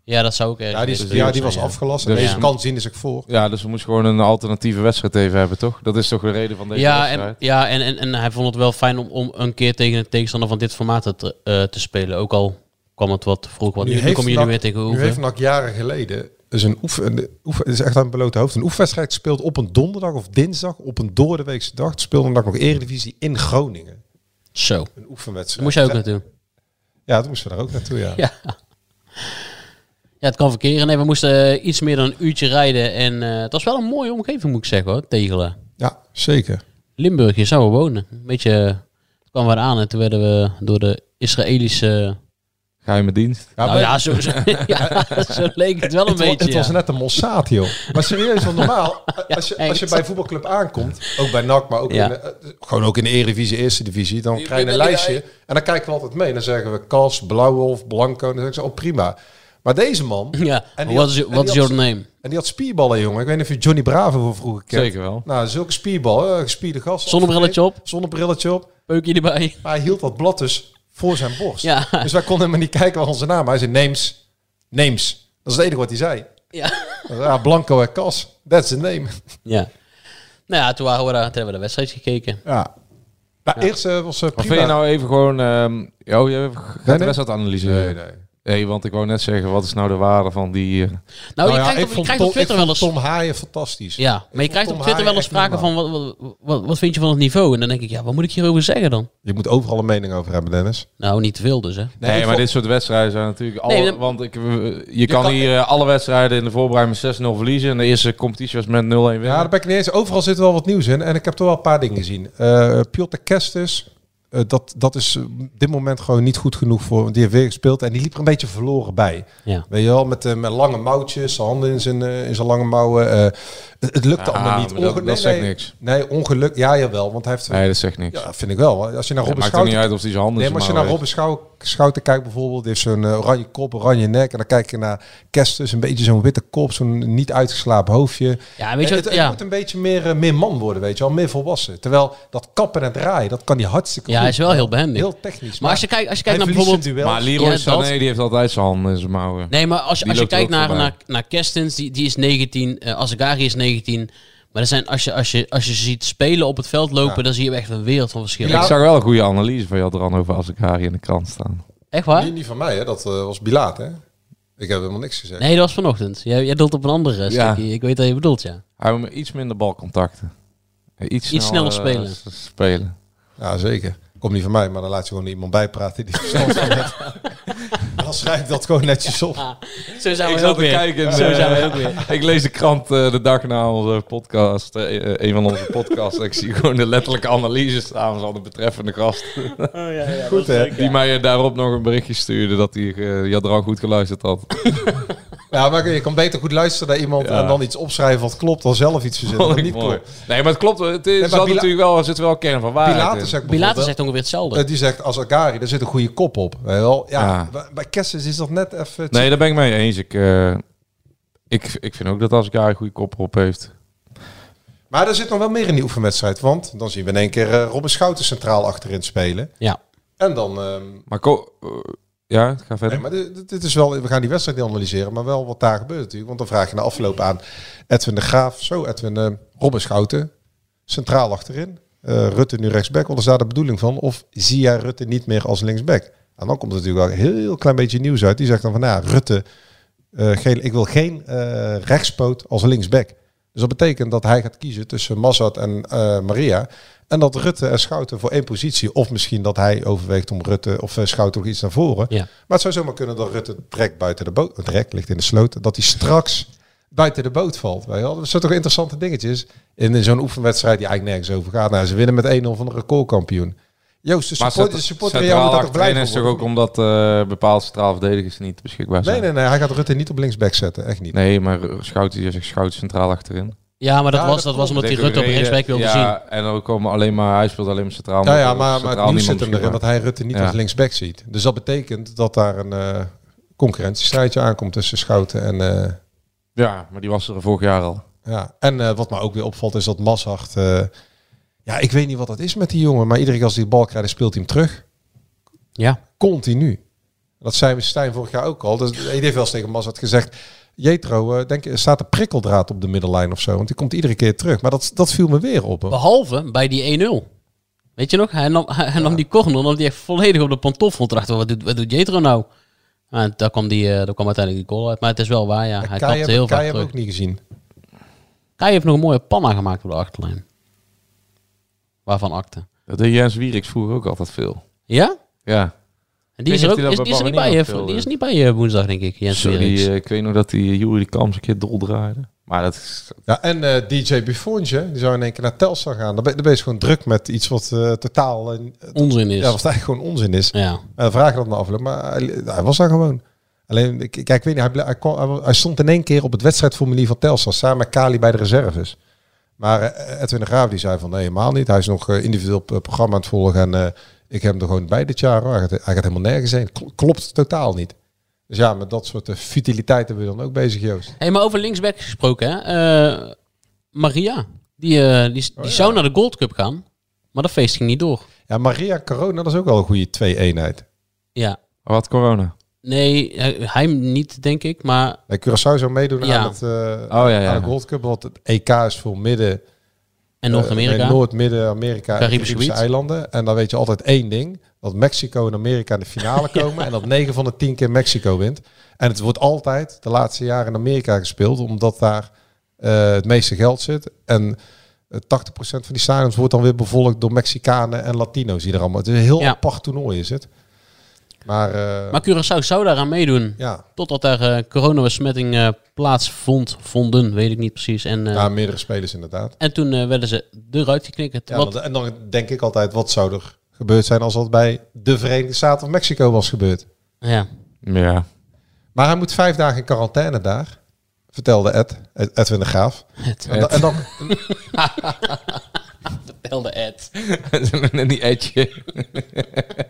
E: Ja, dat zou ook erg
F: Ja, die,
E: zijn.
F: is- ja, die was afgelast en
G: Dus-
F: deze kans diende zich voor.
G: Ja, dus we moesten gewoon een alternatieve wedstrijd even hebben, toch? Dat is toch de reden van deze
E: Ja, en,
G: wedstrijd?
E: ja en, en, en hij vond het wel fijn om, om een keer tegen een tegenstander van dit formaat te, eh, te spelen. Ook al kwam het wat vroeg, want nu, nu
F: heeft
E: kom je nu
F: NAC-
E: weer tegen
F: Nu heeft
E: Hoeven.
F: NAC jaren geleden dus een oefen, een oefen- het is echt aan het belote hoofd. Een oefenwedstrijd gespeeld op een donderdag of dinsdag, op een doordeweekse dag. Het speelde NAC nog Eredivisie in Groningen.
E: Zo,
F: Een oefenwedstrijd.
E: daar moest jij ook naartoe.
F: Ja, toen moesten we daar ook naartoe, ja.
E: Ja. Ja, het kan verkeren. Nee, we moesten eh, iets meer dan een uurtje rijden. En eh, het was wel een mooie omgeving, moet ik zeggen hoor, Tegelen.
F: Ja, zeker.
E: Limburg, je zou er wonen. Een beetje eh, kwamen we aan en toen werden we door de Israëlische...
G: Geheime dienst.
F: Ja,
E: nou
F: Ah, maar-
E: ja, zo, zo, ja, zo leek het wel een
F: het, wa-
E: beetje.
F: het was
E: ja.
F: net een Mossad, joh. Maar serieus, want normaal, als je, als je
E: echt.
F: bij een voetbalclub aankomt, ook bij NAC, maar ook
E: Ja.
F: in, de- eh, gewoon ook in de Eredivisie, Eerste Divisie, dan krijg je een lijstje. En dan kijken we altijd mee. Dan zeggen we Kals, Blauwolf, Blanco. En dan zeggen ze, oh prima. Maar deze man,
E: Ja,
F: En die had-
E: what is, your-
F: en
E: what
F: die
E: is your
F: had-
E: name?
F: en die had spierballen, jongen. Ik weet niet of je Johnny Bravo van vroeger kent.
G: Zeker wel.
F: Nou, zulke spierballen, eh, gespierde gast.
E: Zonnebrilletje op.
F: Zonnebrilletje op.
E: Peukje erbij.
F: Maar hij hield dat blad dus voor zijn borst.
E: Ja.
F: Dus wij konden helemaal niet kijken waar onze naam. Hij zei Neems. Neems. Dat is het enige wat hij zei.
E: Ja.
F: Ja, Blanco en Cas. That's the name.
E: ja. Nou ja, toen, waren we daar, toen hebben we de wedstrijd gekeken.
F: Ja. Nou, eerst eh, was eh
G: Maar
F: prima.
G: vind je nou even gewoon... ehm oh, je gaat
F: nee.
G: de wedstrijd analyseren.
F: Nee,
E: Oh,
F: nee.
G: Nee, want ik wou net zeggen, wat is nou de waarde van die... eh,
E: Nou,
F: Nou
E: je
F: ja,
E: krijgt,
F: ik
E: op, je
F: vond
E: krijgt op
F: Tom- ik
E: Twitter wel
F: vond
E: eens...
F: Tom Haaien fantastisch.
E: Ja, maar
F: vond
E: je krijgt op
F: Tom
E: Twitter wel eens
F: Haaien echt
E: sprake van... Wat, wat, wat, wat vind je van het niveau? En dan denk ik, ja, wat moet ik hierover zeggen dan?
F: Je moet overal een mening over hebben, Dennis.
E: Nou, niet te veel dus, hè.
G: Nee,
F: ik
G: maar dit
F: vond-
G: soort wedstrijden zijn natuurlijk... Alle,
E: Nee, dat-
G: Want ik, eh, je, kan,
F: kan-
G: hier eh, alle wedstrijden in de voorbereiding met 6-0 verliezen. En de eerste competitie was met 0-1 winnen.
F: Ja, daar ben ik niet eens. Overal zit wel wat nieuws in. En ik heb toch wel een paar dingen gezien. Eh Piotr Kestis, eh, dat, dat is eh, op dit moment gewoon niet goed genoeg voor. Want die heeft weer gespeeld en die liep er een beetje verloren bij.
E: Ja.
F: Weet je wel, met, eh, met lange mouwtjes, zijn handen in zijn, eh, in zijn lange mouwen. eh Het, het lukte
G: Ah,
F: allemaal niet.
G: maar dat-
F: Onge-
G: dat zegt
F: nee,
G: niks.
F: Nee, ongeluk. Ja, jawel. Want hij heeft...
G: Nee, dat zegt niks.
F: Ja, vind ik wel. Als je naar
G: het
F: Robben
G: maakt ook niet
F: Schouten-
G: uit of hij zijn handen
F: Nee, maar als je naar Robben Schou- Schouten kijkt bijvoorbeeld, die heeft zo'n eh, oranje kop, oranje nek. En dan kijk je naar Kerstens, een beetje zo'n witte kop, zo'n niet uitgeslapen hoofdje.
E: Ja, weet je
F: het,
E: wat-
F: het
E: ja.
F: moet een beetje meer, eh, meer man worden, weet je wel, meer volwassen. Terwijl dat kappen en draaien, dat kan die hartstikke
E: Ja,
F: goed.
E: hij is wel heel behendig.
F: Heel technisch.
E: Maar als je kijkt- als je
F: hij
E: kijkt naar
F: verliest
E: bijvoorbeeld-
F: een
G: Maar
F: duel.
G: Leroy
E: Ja, dat-
G: Sané die heeft altijd zijn handen in zijn mouwen.
E: Nee, maar als, je-
G: Die loopt
E: als je
G: er
E: kijkt
G: ook
E: naar,
G: voorbij.
E: naar, naar Kerstens, die, die is 19. eh Azagari is 19. Maar er zijn, als, je, als, je, als je ze ziet spelen op het veld lopen, dan zie je echt een wereld van verschil.
F: Ja.
G: Ik zag wel een goede analyse van Jadran over Azekari in de krant staan.
E: Echt waar?
F: Die, die van mij, hè, dat eh, was Bilaat, hè? Ik heb helemaal niks gezegd.
E: Nee, dat was vanochtend. Jij, jij doelt op een andere
G: Ja.
E: stukje. Ik weet dat je bedoelt, ja.
G: Hij heeft iets minder balcontacten. Eh, Iets,
E: Iets sneller spelen.
G: eh, s- spelen.
F: Ja, zeker. Komt niet van mij, maar dan laat je gewoon iemand bijpraten die verstand van heeft. En Dan schrijf ik dat gewoon netjes op.
E: Zo zijn
G: Ik
E: we ook
G: zat te
E: weer.
G: kijken. en,
E: Zo zijn we
G: eh,
E: ook weer.
G: ik lees de krant eh, de dag na onze podcast. eh, eh, een van onze podcasts. en ik zie gewoon de letterlijke analyse staan van de betreffende gast.
E: Oh,
F: Goed, hè?
G: Die mij eh, daarop nog een berichtje stuurde dat hij eh, Jadran goed geluisterd had.
F: Ja, maar je kan beter goed luisteren naar iemand
G: Ja.
F: en dan iets opschrijven wat klopt, dan zelf iets verzinnen
G: Vond
F: wat
G: ik
F: niet
G: mooi.
F: klopt.
G: Nee, maar het klopt. Het is,
F: maar
G: zat
F: Pila-
G: natuurlijk wel, er zit wel kern van waarheid in.
F: Pilatus zegt
E: Pilatus
F: bijvoorbeeld,
E: zegt ongeveer hetzelfde.
F: eh, die zegt als Agari, daar zit een goede kop op. Weet je wel? Ja,
G: Ja.
F: bij- Bij Kessens is dat net even...
G: Nee, daar ben ik mee eens. Ik, eh, ik, ik vind ook dat als ik haar een goede kop op heeft.
F: Maar er zit nog wel meer in die oefenwedstrijd, want dan zien we in één keer eh, Robben Schouten centraal achterin spelen.
E: Ja.
F: En dan... ehm,
G: Maar ko- eh, ja, ga verder.
F: Nee, maar dit, dit- dit is wel, we gaan die wedstrijd niet analyseren, maar wel wat daar gebeurt natuurlijk. Want dan vraag je na afloop aan Edwin de Graaf. Zo, Edwin, eh Robben Schouten, centraal achterin. Eh, Rutte nu rechtsback. Wat is daar de bedoeling van? Of zie jij Rutte niet meer als linksback? En dan komt er natuurlijk wel een heel klein beetje nieuws uit. Die zegt dan van, nou, Rutte, eh, geen, ik wil geen eh, rechtspoot als linksback. Dus dat betekent dat hij gaat kiezen tussen Mazzat en eh, Maria. En dat Rutte en Schouten voor één positie. Of misschien dat hij overweegt om Rutte of eh, Schouten nog iets naar voren.
E: Ja.
F: Maar het zou zomaar kunnen dat Rutte direct buiten de boot... Het rek ligt in de sloot. Dat hij straks buiten de boot valt. Weet je wel? Dat zijn toch interessante dingetjes. In, in zo'n oefenwedstrijd die eigenlijk nergens over gaat. Nou, ze winnen met 1-0 van een recordkampioen. Joost, de
G: Maar
F: support, de
G: cent-
F: supporter jou moet daar toch blij
G: achterin
F: van
G: is toch ook
F: worden?
G: omdat eh bepaalde centraal verdedigers niet beschikbaar zijn?
F: Nee, nee, nee. Hij gaat Rutte niet op linksback zetten. Echt niet.
G: Nee, maar Schout die zegt Schout centraal achterin.
E: Ja, maar dat,
F: Ja,
E: was,
F: dat
E: dat was
F: klopt.
E: omdat hij
G: Denk ik
E: Rutte op
G: reden-
E: rechtsback wilde zien.
G: ja, en dan komen alleen maar, hij speelt alleen maar centraal.
F: Nou
G: maar
F: ja,
G: op
F: maar, maar
G: centraal
F: het nieuws
G: niemand
F: zit hem erin dat
G: beschikbaar.
F: hij Rutte niet
G: Ja.
F: als linksback ziet. Dus dat betekent dat daar een eh concurrentiestrijdje aankomt tussen Schouten en... eh,
G: Ja, maar die was er vorig jaar al.
F: ja. En eh, wat me ook weer opvalt is dat Massacht... eh, ja, ik weet niet wat dat is met die jongen, maar iedere keer als hij de bal krijgt, speelt hij hem terug.
E: Ja.
F: Continu. Dat zei we Stijn vorig jaar ook al. Dus hij heeft wel eens tegen Massacht gezegd... Jetro, eh, denk, je, staat een prikkeldraad op de middenlijn of zo? Want die komt iedere keer terug. Maar dat, dat viel me weer op. hoor.
E: Behalve bij die 1-0. Weet je nog? Hij nam, hij nam die corner, nam die echt volledig op de pantoffel. Toen dachten we, wat doet, wat doet Jetro nou? En daar kwam, die, eh, daar kwam uiteindelijk die goal uit. Maar het is wel waar, ja. Hij
F: Kai heb-
E: kapte heel
F: Kai
E: vaak
F: heb ik
E: terug.
F: ook niet gezien.
E: Kai heeft nog een mooie panna gemaakt op de achterlijn. Waarvan akte.
G: Dat deed Jens Wieriks vroeger ook altijd veel.
E: Ja?
G: Ja.
E: En die
G: Ik
E: is er
G: weet
E: ook
G: niet of hij
E: is,
G: dat
E: die is
G: bij
E: er niet bij,
G: Barney
E: eh,
G: speelde.
E: die is niet bij eh, woensdag, denk ik. Jens
G: Sorry,
E: Wierings.
G: eh, ik weet nog dat die Jury de Kams een keer dol draaide. Maar dat is...
F: Ja, en eh, DJ Buffonje, die zou in één keer naar Telstar gaan. Dan ben, dan ben je dus gewoon druk met iets wat eh, totaal... eh,
E: Onzin is.
F: ja,
E: Ja.
F: wat eigenlijk gewoon onzin is. En Eh, dan vraag je dat na afloop, maar hij, hij was daar gewoon. Alleen, ik, kijk, ik weet niet, hij, ble- hij, kwam- hij- hij stond in één keer op het wedstrijdformulier van Telstar... samen met Kali bij de reserves. Maar eh, Edwin de Graaf die zei van, nee, helemaal niet. Hij is nog eh, individueel p- programma aan het volgen en eh, ik heb hem er gewoon bij dit jaar. hoor. Hij gaat, hij gaat helemaal nergens heen. Kl- Klopt totaal niet. Dus ja, met dat soort eh, futiliteiten ben je dan ook bezig, Joost.
E: Hey, maar over linksback gesproken, hè. eh, Maria, die, eh, die,
F: Oh,
E: die zou naar de Gold Cup gaan, maar dat feest ging niet door.
F: Ja, Maria Corona, dat is ook wel een goede twee-eenheid.
E: Ja.
G: Wat corona?
E: Nee, hij, hij niet, denk ik. Maar
F: Nee, Curaçao zou meedoen
E: Ja.
F: aan, het, eh
G: ja, ja,
F: aan
G: ja.
F: de Gold Cup, want het EK is voor midden... eh,
E: en Noord-Amerika.
F: nee, Noord, Midden-Amerika en
E: Caribisch
F: Caribische
E: gebied.
F: eilanden. En dan weet je altijd één ding. Dat Mexico en Amerika in de finale komen. En dat 9 van de 10 keer Mexico wint. En het wordt altijd de laatste jaren in Amerika gespeeld. Omdat daar eh, het meeste geld zit. En eh, 80% van die stadions wordt dan weer bevolkt door Mexicanen en Latino's. Die er allemaal. Het is een heel
E: Ja.
F: apart toernooi is het. Maar, eh,
E: maar Curaçao zou daaraan meedoen.
F: ja,
E: Totdat daar eh, coronabesmetting eh, plaatsvond, vonden, weet ik niet precies. En, eh,
F: ja, meerdere spelers inderdaad.
E: en toen eh, werden ze eruit geknikkerd.
F: Ja,
E: wat,
F: want- en dan denk ik altijd, wat zou er gebeurd zijn als dat bij de Verenigde Staten of Mexico was gebeurd?
E: ja.
G: Ja.
F: Maar hij moet vijf dagen in quarantaine daar. Vertelde Ed, Ed- Edwin de Graaf. En, dan- en dan,
E: Vertelde Ed.
G: En die etje.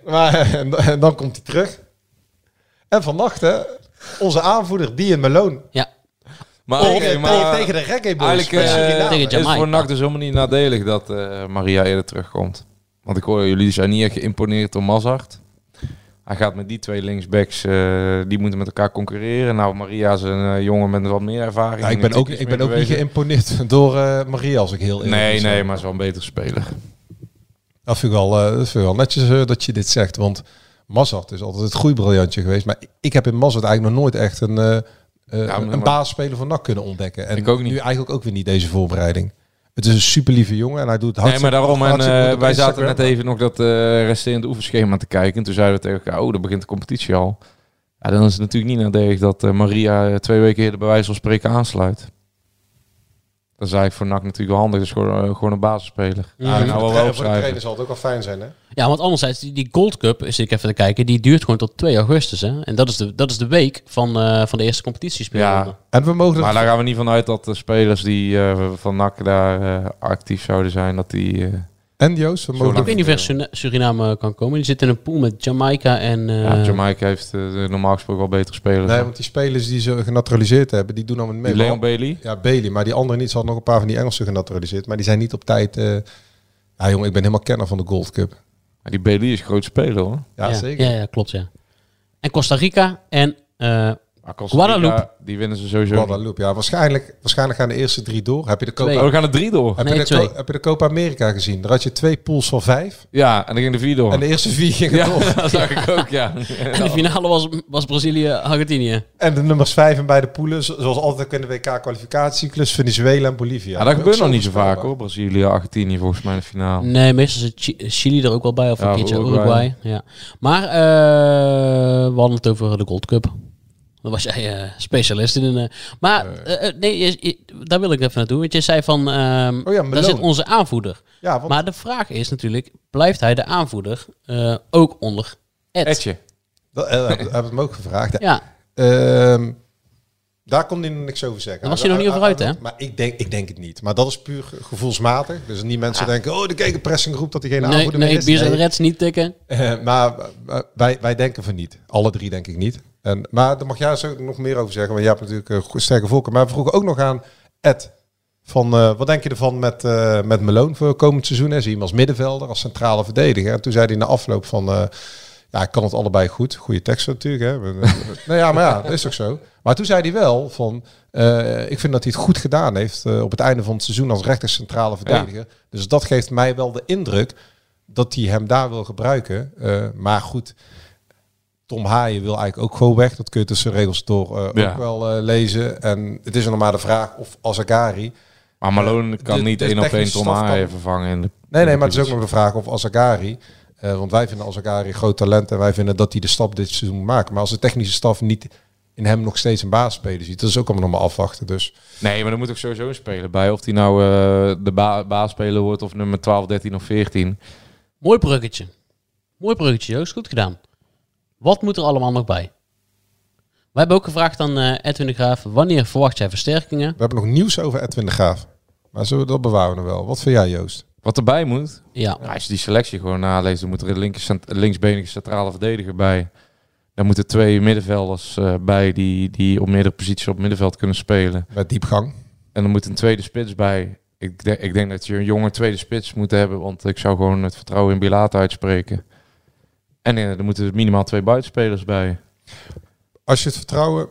F: maar, en, dan- en dan komt hij terug. En vannacht, hè, onze aanvoerder, die in Meloon.
E: Ja.
G: Maar,
F: Tegen,
G: oké,
F: tegen-
G: Ah, maar
F: Oh, tegen de reggae boys.
G: eigenlijk eh,
F: van Suriname.
E: Tegen
G: is het
E: Jamaica.
G: voor NAC dus helemaal niet nadelig dat eh, Maria eerder terugkomt. Want ik hoor jullie zijn niet echt geïmponeerd door Mazart. Hij gaat met die twee linksbacks, eh, die moeten met elkaar concurreren. Nou, Maria is een eh, jongen met wat meer ervaring.
F: Ja, Nou, ik
G: Die
F: ben ook,
G: is
F: ik
G: meer
F: ben ook niet dus, eh.
G: bewezen.
F: geïmponeerd door eh, Maria, als ik heel eerlijk
G: Nee,
F: moet
G: nee,
F: zijn.
G: maar is wel een betere speler.
F: Dat vind ik wel, eh, dat vind ik wel netjes eh, dat je dit zegt. Want Mazart is altijd het groeibriljantje geweest. Maar ik heb in Mazart eigenlijk nog nooit echt een, eh eh,
G: maar-
F: een basisspeler van NAC kunnen ontdekken. En
G: Ik ook niet.
F: nu eigenlijk ook weer niet deze voorbereiding. Het is een super lieve jongen en hij doet
G: Nee,
F: hartstikke
G: maar daarom. En,
F: hartstikke
G: eh,
F: goed op
G: wij zaten
F: Instagram.
G: net even nog dat eh resterende oefenschema te kijken. En toen zeiden we tegen elkaar, oh, dan begint de competitie al. Ja, dan is het natuurlijk niet nadelig dat eh, Maria eh, twee weken eerder bij wijze van spreken aansluit. Dat is eigenlijk voor NAC natuurlijk wel handig. Dus gewoon, eh, gewoon een basisspeler.
F: Ja,
G: Ja, nou,
F: voor, de
G: wel
F: tra- voor de
G: opschrijven.
F: trainer zal het ook wel fijn zijn, hè?
E: Ja, want anderzijds, die, die Gold Cup, is ik even te kijken, die duurt gewoon tot 2 augustus. Hè? En dat is de, dat is de week van, eh, van de eerste competitiespeelronde.
G: Ja.
F: En we mogen...
G: Maar daar gaan we niet vanuit dat de spelers die eh, van NAC daar eh, actief zouden zijn, dat die... eh,
F: En Joost, we
G: Zo
F: mogen...
G: lang.
E: Ik weet niet of Surina- Suriname kan komen. Die zitten in een pool met Jamaica en... eh,
G: ja, Jamaica heeft eh, normaal gesproken wel betere spelers.
F: Nee, want die spelers die ze genaturaliseerd hebben, die doen allemaal niet mee.
G: die
F: Maar-
G: Leon Bailey.
F: Ja, Bailey. Maar die andere niet. Ze had nog een paar van die Engelsen genaturaliseerd. Maar die zijn niet op tijd... eh, Ja, jongen, ik ben helemaal kenner van de Gold Cup.
G: Ja, Die Bailey is groot speler hoor.
F: Ja,
E: ja,
F: zeker.
E: Ja, ja, klopt, ja. En Costa Rica en... eh,
G: Maar Costa Rica,
E: Guadeloupe.
G: Die winnen ze sowieso niet.
F: Guadeloupe. Ja, waarschijnlijk, waarschijnlijk gaan de eerste drie door. Heb je de Copa,
E: Twee.
G: Oh, we gaan er drie door.
F: heb
E: Nee,
F: je de,
E: twee.
F: Co- heb je de Copa America gezien? Daar had je twee pools van vijf.
G: Ja, en dan ging de vier door.
F: En de eerste vier gingen
G: Oh. ja,
F: door.
G: dat zag ik ook, ja.
E: en de finale was, was Brazilië-Argentinië.
F: En de nummers vijf en bij de poelen, zo- zoals altijd in de WK-kwalificatiecyclus, Venezuela en Bolivia.
G: Ja, dat
F: Ook
G: gebeurt nog niet zo
F: voorspelbaar.
G: vaak hoor. Brazilië, Argentinië volgens mij in de finale.
E: Nee, meestal zit Chi- Chili er ook wel bij. Of
G: Ja,
E: een keertje
G: Uruguay.
E: Uruguay. Ja. Maar eh, we hadden het over de Gold Cup. Daar was jij eh, specialist in. eh. maar eh, eh, nee, je- je- daar wil ik even naartoe. Want je zei van, ehm, daar
F: Malone.
E: zit onze aanvoerder.
F: Ja, want
E: Maar de vraag is natuurlijk, blijft hij de aanvoerder eh, ook onder Ed?
G: Etje.
F: dat eh, heb- heb ik hem ook gevraagd.
E: Ja,
F: Ehm, daar kon hij nog niks over zeggen.
E: Daar was hij nog niet over uit, hè?
F: Maar ik denk, ik denk het niet. Maar dat is puur ge- gevoelsmatig. Dus niet mensen denken, oh, de kekenpressing roept dat hij geen
E: nee,
F: aanvoerder meer
E: nee
F: is.
E: Biers en
F: Nee.
E: Reds niet tikken.
F: Eh, maar eh, wij, wij denken van niet. Alle drie denk ik niet. En, maar daar mag jij zo nog meer over zeggen. Want jij hebt natuurlijk eh, go- sterke volken. Maar we vroegen ook nog aan Ed. Van, eh, wat denk je ervan met, eh met Meloon voor komend seizoen? Hè? Zie je hem als middenvelder, als centrale verdediger. En toen zei hij na afloop van... eh, ja, ik kan het allebei goed. Goede tekst natuurlijk. Hè? nou ja, maar ja, dat is toch zo. Maar toen zei hij wel van... eh, ik vind dat hij het goed gedaan heeft eh, op het einde van het seizoen als rechter centrale verdediger. Dus dat geeft mij wel de indruk dat hij hem daar wil gebruiken. Eh, maar goed, Tom Haaien wil eigenlijk ook gewoon weg. Dat kun je tussen de regels door eh,
G: Ja.
F: ook wel eh, lezen. En het is nog maar de vraag of Azagari...
G: Maar Malone kan
F: de-
G: niet
F: de
G: één op één
F: technische
G: Tom
F: staf kan-
G: Haaien vervangen. In de,
F: Nee, nee, maar het is ook nog de vraag of Azagari... eh, want wij vinden Azagari een groot talent en wij vinden dat hij de stap dit seizoen moet maken. Maar als de technische staf niet in hem nog steeds een basisspeler ziet, dat is ook allemaal nog maar afwachten. Dus
G: Nee, maar er moet ook sowieso een speler bij. Of die nou eh, de ba baasspeler wordt of nummer 12, 13 of 14.
E: Mooi bruggetje. Mooi bruggetje, Joost. Goed gedaan. Wat moet er allemaal nog bij? We hebben ook gevraagd aan eh, Edwin de Graaf, wanneer verwacht jij versterkingen?
F: we hebben nog nieuws over Edwin de Graaf. Maar zullen we dat bewaren we wel? Wat vind jij, Joost?
G: Wat erbij moet?
E: Ja,
G: Nou, als je die selectie gewoon naleest, dan moet er een linker cent- linksbenige centrale verdediger bij. Dan moeten twee middenvelders eh, bij die, die op meerdere posities op middenveld kunnen spelen.
F: Met diepgang.
G: En er moet een tweede spits bij. Ik, de- ik denk dat je een jonge tweede spits moet hebben. Want ik zou gewoon het vertrouwen in Bilata uitspreken. En eh, er moeten minimaal twee buitenspelers bij.
F: als je het vertrouwen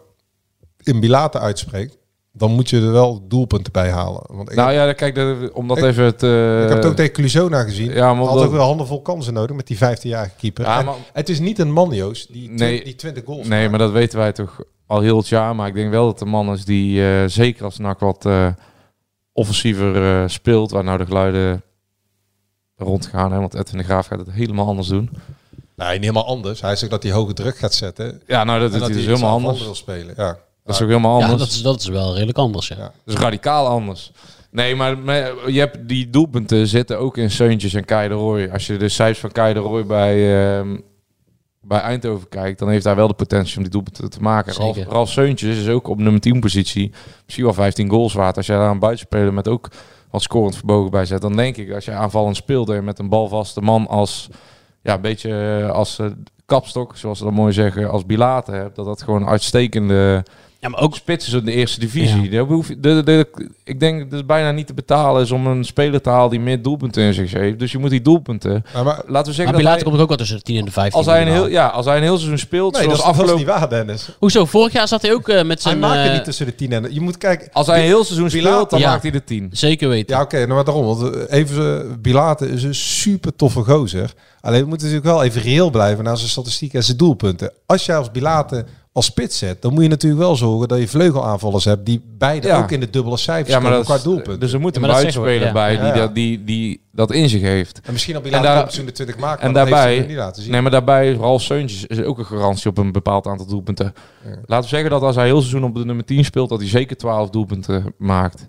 F: in Bilate uitspreekt, dan moet je er wel doelpunten bij halen. Want ik,
G: nou
F: heb,
G: ja, dan kijk, de- om dat
F: Ik-
G: even eh, te...
F: ik heb het ook tegen Cluzona gezien.
G: Ja, maar
F: had
G: omdat-
F: ook weer handen vol kansen nodig met die 15-jarige keeper.
G: Ja,
F: En
G: maar-
F: het is niet een man, Joost, die, twi-
G: Nee.
F: die 20 goals
G: Nee,
F: maakt.
G: maar dat weten wij toch al heel het jaar. Maar ik denk wel dat de man is die eh, zeker als NAC wat eh, offensiever eh, speelt. Waar nou de geluiden rondgaan. Hè, want Edwin de Graaf gaat het helemaal anders doen.
F: Nee, niet helemaal anders. Hij zegt dat hij hoge druk gaat zetten. en
G: Ja, nou
F: dat
G: dat, doet
F: hij
G: hij dus
F: iets
G: helemaal
F: aanvallend
G: anders.
F: wil spelen. Ja.
G: Dat is ook helemaal
E: ja
G: anders.
E: dat, is, dat is wel redelijk anders. Ja.
F: Ja.
G: Dus radicaal anders. Nee, maar me- je hebt die doelpunten zitten ook in Seuntjes en Kai de Roy. Als je de cijfers van Kai de Roy bij, ehm, bij Eindhoven kijkt, dan heeft hij wel de potentie om die doelpunten te maken. Ralf,
E: Zeker.
G: Ralf Seuntjes is ook op nummer 10 positie misschien wel 15 goals waard. Als jij daar een buitenspeler met ook wat scorend verbogen bij zet, dan denk ik als je aanvallend speelt en met een balvaste man als ja, een beetje eh, als eh, kapstok, zoals ze dat mooi zeggen, als bilater hebt, dat dat gewoon uitstekende
E: Ja, maar ook
G: spitsen in de eerste divisie. Daar hoef je- de, de, de- ik denk dat het bijna niet te betalen is om een speler te halen die meer doelpunten in zich heeft. Dus je moet die doelpunten.
F: Ja, maar,
G: Laten we zeggen
E: Maar
G: dat
E: Pilater
G: hij-
E: komt er ook wel tussen de 10 en de 15.
G: als hij een heel,
E: minimaal.
G: ja, als hij een heel seizoen speelt,
F: nee, dat
G: zoals
F: is, dat is
G: afgelopen,
F: niet waar, Dennis.
E: Hoezo? Vorig jaar zat hij ook eh, met
F: Hij
E: zijn...
F: maakt het
E: eh,
F: niet tussen de tien en... Je moet kijken...
G: als hij een heel seizoen
F: Pilater-
G: speelt, dan
E: Ja.
G: maakt hij de 10.
E: Zeker weten.
F: Ja, oké, nou maar daarom. Want eh, even, eh, Bilate is een super toffe gozer. Alleen we moeten natuurlijk wel even reëel blijven naar zijn statistieken en zijn doelpunten. Als jij als Bilate als spits zet, dan moet je natuurlijk wel zorgen dat je vleugelaanvallers hebt die beide
G: Ja.
F: ook in de dubbele cijfers
G: Ja, maar
F: komen
G: dat
F: qua
G: is,
F: doelpunten.
G: dus er moet
E: Ja,
G: een
E: maar dat zeggen we,
G: buitenspeler bij
F: ja.
G: Die, dat, die, die dat in zich heeft.
F: en misschien al
G: en
F: Bilate
G: daar-
F: daar, op de 20 maken,
G: en
F: maar dat heeft
G: daarbij,
F: hij nog niet laten zien.
G: nee, maar daarbij is Ralf Seuntjes is ook een garantie op een bepaald aantal doelpunten. Laten we zeggen dat als hij heel seizoen op de nummer 10 speelt, dat hij zeker 12 doelpunten maakt.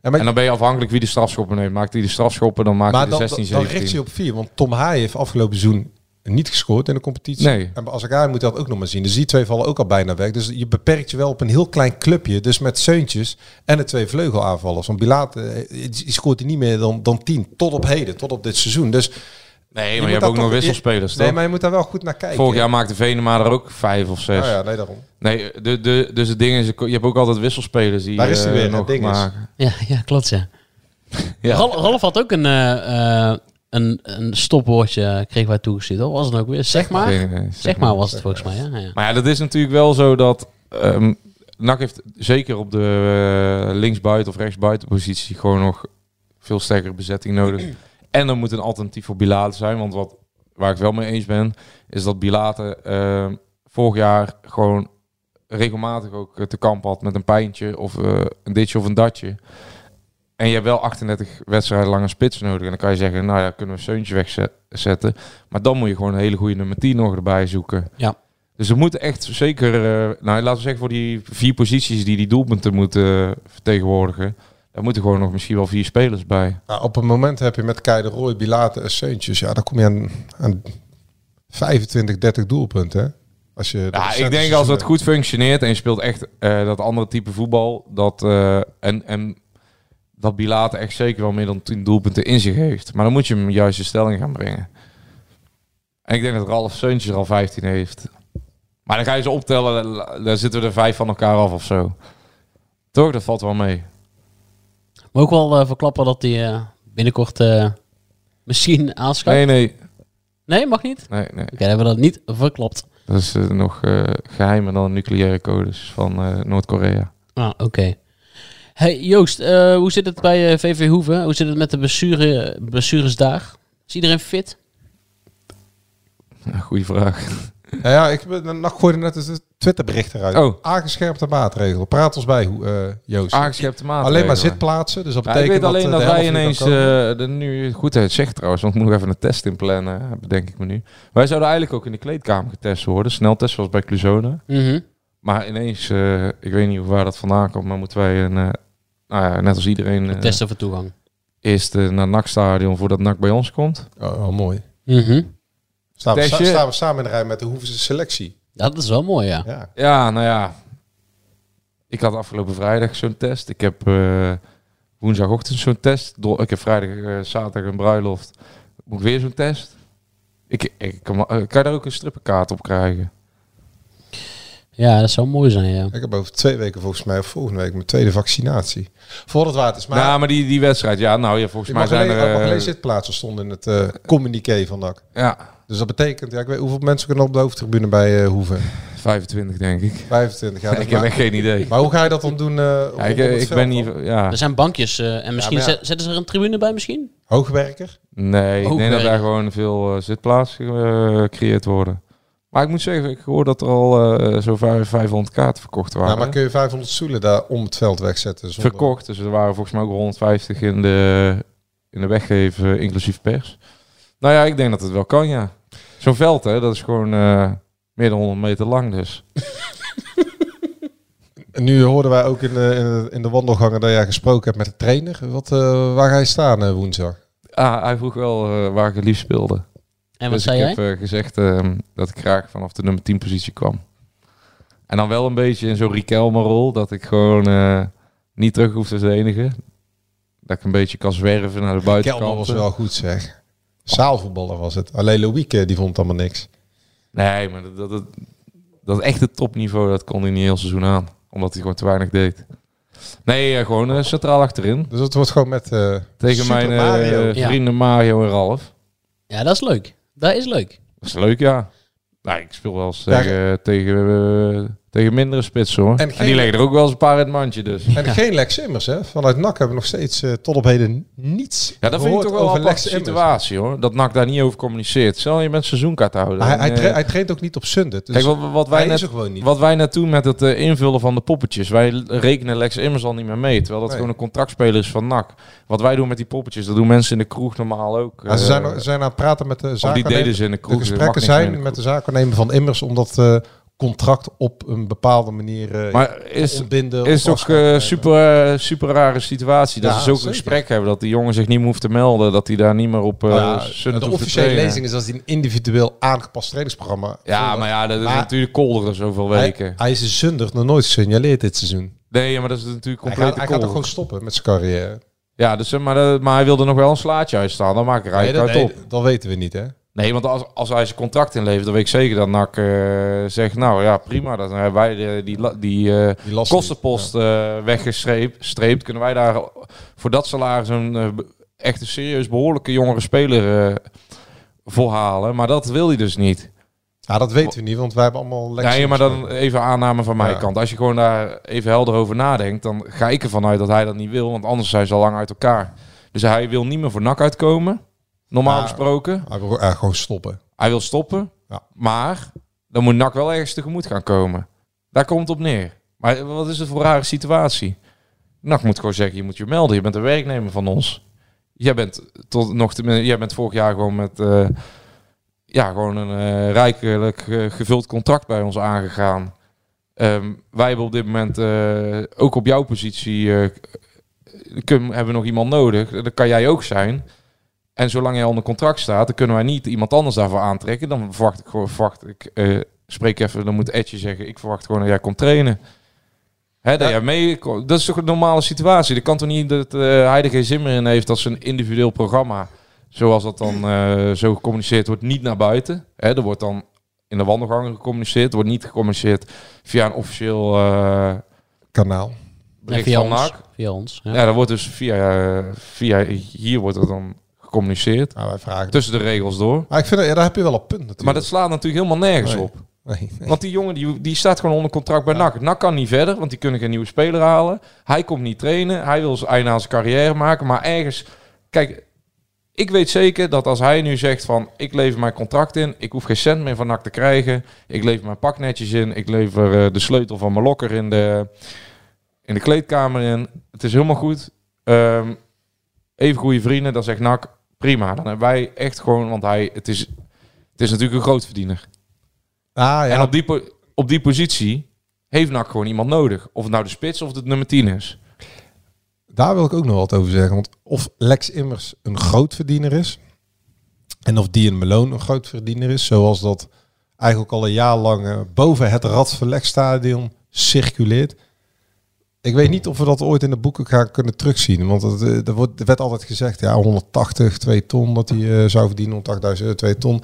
F: Ja, maar-
G: en dan ben je afhankelijk wie de strafschoppen neemt. Maakt hij de strafschoppen, dan maakt
F: maar
G: hij de
F: dan,
G: 16,
F: dan, dan
G: 17.
F: richt je op vier, want Tom Haaien heeft afgelopen seizoen niet gescoord in de competitie.
G: Nee.
F: En als ik moet dat ook nog maar zien. Dus die twee vallen ook al bijna weg. Dus je beperkt je wel op een heel klein clubje. Dus met Seuntjes en de twee vleugelaanvallers. Want Bilaat eh, die scoort hij niet meer dan, dan tien. Tot op heden, tot op dit seizoen. Dus
G: Nee,
F: je
G: maar
F: moet
G: je, hebt
F: daar
G: ook
F: toch-
G: nog wisselspelers.
F: Nee,
G: toch?
F: maar je moet daar wel goed naar kijken.
G: Vorig jaar maakte Venema er ook 5 of 6.
F: Nou ja, nee, daarom.
G: Nee, de, de, dus het ding is, je hebt ook altijd wisselspelers die
F: Daar is hij
G: eh,
F: weer,
G: nog
F: het ding is.
G: maken.
E: Ja, ja klopt ja.
G: Ja.
E: Ralf, Ralf had ook een, eh, eh, een, een stopwoordje, eh, kregen wij toegestuurd. Wat was het ook weer? Zeg maar.
G: Geen- geen-
E: Zeg maar was het volgens mij. Ja, ja.
G: Maar ja, dat is natuurlijk wel zo dat... ehm NAC heeft zeker op de eh, linksbuiten of rechtsbuiten positie gewoon nog veel sterkere bezetting nodig. En er moet een alternatief voor Bilate zijn. Want wat, waar ik wel mee eens ben, is dat Bilate ehm, vorig jaar gewoon regelmatig ook eh, te kamp had met een pijntje of eh, een ditje of een datje. En je hebt wel 38 wedstrijden lang een spits nodig. En dan kan je zeggen, nou ja, kunnen we Seuntje wegzetten. Maar dan moet je gewoon een hele goede nummer 10 nog erbij zoeken.
E: Ja.
G: Dus er moeten echt zeker, eh, nou laten we zeggen voor die vier posities die die doelpunten moeten eh, vertegenwoordigen. Daar moeten gewoon nog misschien wel vier spelers bij.
F: Nou, op een moment heb je met Kei de Roy, Bilate en Seuntjes. Ja, dan kom je aan, aan 25, 30 doelpunten. hè. Als je dat
G: Ja,
F: recente
G: ik denk als
F: seizoen
G: dat goed functioneert en je speelt echt eh, dat andere type voetbal, dat, eh, en, en dat Bilate echt zeker wel meer dan 10 doelpunten in zich heeft. Maar dan moet je hem juist in stelling gaan brengen. En ik denk dat Ralf Seuntjes er al 15 heeft. Maar dan ga je ze optellen, la- dan zitten we er vijf van elkaar af of zo. Toch, dat valt wel mee.
E: Maar ook wel eh, verklappen dat hij eh, binnenkort eh, misschien aanschuift.
G: Nee,
E: Nee,
G: nee,
E: mag niet? Oké,
G: nee, nee.
E: dan hebben we dat niet verklapt.
G: Dat is eh, nog eh, geheimer dan nucleaire codes van eh, Noord-Korea.
E: Ah, oké. Hey Joost, eh, hoe zit het bij eh, VV Hoeven? Hoe zit het met de blessure, blessures daar? Is iedereen fit?
G: Ja, Goeie vraag.
F: Ja, ja ik ben, nog gooide net het Twitterbericht eruit.
G: Oh.
F: Aangescherpte maatregelen. Praat ons bij, hoe, eh,
G: Dus,
F: Joost.
G: Aangeschepte maatregelen.
F: alleen maar zitplaatsen. Dus dat
G: Ja, ik
F: betekent
G: weet alleen
F: dat,
G: dat
F: eh, de
G: wij
F: helft
G: ineens,
F: niet kan komen.
G: eh, de, nu je goed het zegt trouwens, want ik moet nog even een test inplannen, eh, bedenk ik me nu. Wij zouden eigenlijk ook in de kleedkamer getest worden, sneltest zoals bij Cluzone.
E: Mhm.
G: Maar ineens, eh, ik weet niet waar dat vandaan komt, maar moeten wij, een, eh, nou ja, net als iedereen, eh,
E: Testen voor toegang.
G: eerst eh, naar het NAC-stadion voordat NAC bij ons komt.
F: Oh, oh, mooi.
E: Mhm.
F: Staan we,
G: Testje.
F: sa- staan we samen in de rij met de Hoevense selectie.
E: Dat is wel mooi, ja.
F: Ja.
G: Ja, nou ja. Ik had afgelopen vrijdag zo'n test. Ik heb eh, woensdagochtend zo'n test. Dol- ik heb vrijdag, eh, zaterdag een bruiloft. Moet ik weer zo'n test? Ik, ik kan, wel- eh, kan je daar ook een strippenkaart op krijgen?
E: Ja, dat zou mooi zijn, ja.
F: Ik heb over twee weken volgens mij, of volgende week, mijn tweede vaccinatie. Voor het water is. Maar,
G: nou, maar die, die wedstrijd, ja, nou ja, volgens
F: ik
G: mij
F: mag
G: zijn
F: alleen,
G: er...
F: ik mag
G: eh,
F: alleen zitplaatsen stonden in het eh communiqué van NAC.
G: ja,
F: Dus dat betekent, ja, ik weet hoeveel mensen kunnen op de hoofdtribune bij eh Hoeven.
G: 25 denk ik.
F: 25 jaar.
G: ik heb
F: maar,
G: echt geen idee.
F: maar hoe ga je dat dan doen? eh, op-
G: Ja, ik,
F: op het
G: ik
F: veld
G: ben
F: dan?
G: niet... Ja,
E: Er zijn bankjes eh, en misschien
F: maar ja.
E: zet- zetten ze er een tribune bij misschien?
F: Hoogwerker?
G: nee, ik
E: Ook
G: denk dat
E: werk.
G: daar gewoon veel eh, zitplaatsen eh, gecreëerd worden. Maar ik moet zeggen, ik hoor dat er al eh, zo'n vijf- 500 kaarten verkocht waren.
F: Ja, Nou, maar kun je 500 stoelen daar om het veld wegzetten? zonder-
G: verkocht. Dus er waren volgens mij ook 150 in de, in de weggeven, inclusief pers. Nou ja, ik denk dat het wel kan, ja. Zo'n veld, hè, dat is gewoon eh, meer dan 100 meter lang dus.
F: En nu hoorden wij ook in de, in de, in de wandelgangen dat jij gesproken hebt met de trainer. Wat, eh, waar ga je staan eh, woensdag?
G: Ah, hij vroeg wel eh, waar ik het liefst speelde.
E: En wat
G: dus
E: zei
G: ik
E: jij?
G: heb eh, gezegd ehm, dat ik graag vanaf de nummer 10 positie kwam. En dan wel een beetje in zo'n Riquelme-rol, dat ik gewoon eh, niet terug hoef als de enige. Dat ik een beetje kan zwerven naar de buitenkant.
F: Kelman was wel goed zeg. Zaalvoetballer was het. Alleen Loïc eh, die vond allemaal niks.
G: Nee, maar dat, dat, dat, dat echte topniveau, dat kon hij niet heel seizoen aan. Omdat hij gewoon te weinig deed. Nee, eh, gewoon eh, centraal achterin.
F: Dus dat wordt gewoon met eh,
G: Tegen
F: Super
G: mijn eh,
F: Mario.
E: Ja.
G: vrienden Mario en Ralf.
E: Ja, dat is leuk. Dat is leuk.
G: Dat is leuk, ja. Nou, ik speel wel eens
F: Ja,
G: tegen, tegen, eh, tegen mindere spitsen, hoor.
F: En
G: En,
F: geen-
G: die leggen er ook wel eens een paar in het mandje, dus.
F: En geen Lex Immers, hè? Vanuit NAC hebben we nog steeds eh, tot op heden niets
G: Ja, dat vind ik
F: gehoord
G: toch wel een
F: over
G: aparte
F: Lex Immers.
G: situatie, hoor. Dat NAC daar niet over communiceert. Stel, je bent seizoenkaarthouder.
F: Maar hij,
G: En,
F: hij,
G: eh,
F: tra- hij traint ook niet op Sundet. Dus
G: Kijk, wat, wat wij
F: hij
G: net
F: is er gewoon niet.
G: Wat wij net doen met het eh, invullen van de poppetjes. Wij l- rekenen Lex Immers al niet meer mee. Terwijl dat
F: Nee.
G: gewoon een contractspeler is van NAC. Wat wij doen met die poppetjes, dat doen mensen in de kroeg normaal ook.
F: Maar ze
G: Eh,
F: zijn, ze zijn aan het praten met de
G: of die deden
F: zaakwaarnemer.
G: ze in de kroeg.
F: De
G: dus
F: gesprekken
G: mag niet meer in de
F: zijn met de
G: kroeg.
F: zaakwaarnemer van Immers om dat eh, contract op een bepaalde manier eh
G: Maar is,
F: ontbinden.
G: is
F: of
G: toch
F: afscheid
G: eh,
F: nemen.
G: super, eh, super rare situatie. Dat
F: Ja,
G: ze zulke
F: zeker.
G: gesprek hebben. Dat die jongen zich niet meer hoeft te melden. Dat hij daar niet meer op eh
F: Nou ja,
G: Sunnet
F: de
G: hoeft te
F: officiële
G: trainen.
F: lezing is als hij een individueel aangepast trainingsprogramma.
G: Ja, maar ja, dat is
F: Maar-
G: natuurlijk kolder zoveel
F: hij,
G: weken.
F: hij is een zunder, nog nooit gesignaleerd dit seizoen.
G: Nee, maar dat is natuurlijk
F: Hij
G: compleet
F: gaat, hij gaat toch gewoon stoppen met zijn carrière.
G: Ja, dus, eh, maar, dat- maar hij wilde nog wel een slaatje uitstaan. Dan maak ik er
F: Nee,
G: eigenlijk
F: dat,
G: uit op.
F: nee, dat weten we niet, hè?
G: Nee, want als, als hij zijn contract inlevert, dan weet ik zeker dat NAC eh, zegt... Nou ja, prima, dan hebben wij de- die, la- die, eh,
F: Die last
G: kostenpost eh, weggestreept. streept. Kunnen wij daar voor dat salaris een eh, be- echt een serieus behoorlijke jongere speler eh, voor halen? Maar dat wil hij dus niet.
F: Ja, dat weten we niet, want wij hebben allemaal lekker.
G: Nee, maar dan even aanname van mijn
F: Ja.
G: kant. Als je gewoon daar even helder over nadenkt, dan ga ik ervan uit dat hij dat niet wil. Want anders zijn ze al lang uit elkaar. Dus hij wil niet meer voor NAC uitkomen, normaal
F: Maar-
G: gesproken.
F: Hij wil eh, gewoon stoppen.
G: Hij wil stoppen,
F: Ja.
G: maar dan moet NAC wel ergens tegemoet gaan komen. Daar komt het op neer. Maar wat is het voor een rare situatie? NAC moet gewoon zeggen, je moet je melden. Je bent een werknemer van ons. Jij bent, tot nog te, min- jij bent vorig jaar gewoon met eh, ja, gewoon een eh, rijkelijk eh, gevuld contract bij ons aangegaan. Ehm, wij hebben op dit moment eh, ook op jouw positie eh, kun- hebben we nog iemand nodig. Dat kan jij ook zijn. En zolang jij onder contract staat, dan kunnen wij niet iemand anders daarvoor aantrekken. Dan verwacht ik gewoon, verwacht ik, eh, spreek even, dan moet Edje zeggen, ik verwacht gewoon dat jij komt trainen. Hè, dat,
F: Ja.
G: jij mee, kon- dat is toch een normale situatie? Dat kan toch niet dat eh, hij er geen zin meer in heeft dat zijn individueel programma, zoals dat dan eh, zo gecommuniceerd wordt, niet naar buiten. Hè, er wordt dan in de wandelgangen gecommuniceerd, er wordt niet gecommuniceerd via een officieel eh
F: Kanaal.
E: En
G: bericht
E: via
G: van
E: ons.
G: NAC.
E: Via ons. Ja.
G: Ja, dat wordt dus via, eh, via hier wordt dat dan gecommuniceerd.
F: Nou, wij vragen.
G: Tussen de regels door.
F: Maar ik vind, dat- ja, daar heb je wel een punt natuurlijk.
G: Dus- Maar dat slaat natuurlijk helemaal nergens
F: Nee.
G: op.
F: Nee, nee.
G: Want die jongen die, die staat gewoon onder contract bij NAC. NAC kan niet verder, want die kunnen geen nieuwe speler halen. Hij komt niet trainen. Hij wil zijn einde aan zijn carrière maken. Maar ergens... Kijk, ik weet zeker dat als hij nu zegt van... Ik lever mijn contract in. Ik hoef geen cent meer van NAC te krijgen. Ik lever mijn pak netjes in. Ik lever eh, de sleutel van mijn lokker in de, in de kleedkamer in. Het is helemaal goed. Ehm, even goede vrienden. Dan zegt NAC, prima. Dan hebben wij echt gewoon... Want hij, het, is, het is natuurlijk een grootverdiener.
F: Ah, ja.
G: En op die, po- op die positie heeft NAC gewoon iemand nodig. Of het nou de spits of het nummer 10 is.
F: Daar wil ik ook nog wat over zeggen. Want of Lex Immers een grootverdiener is. En of Dion Malone een grootverdiener is. Zoals dat eigenlijk al een jaar lang eh, boven het Rad van Lex Stadion circuleert. Ik weet niet of we dat ooit in de boeken gaan kunnen terugzien. Want het, eh, er, wordt, er werd altijd gezegd, ja, 180, 2 ton dat hij eh, zou verdienen. 180.000 euro, 2 ton.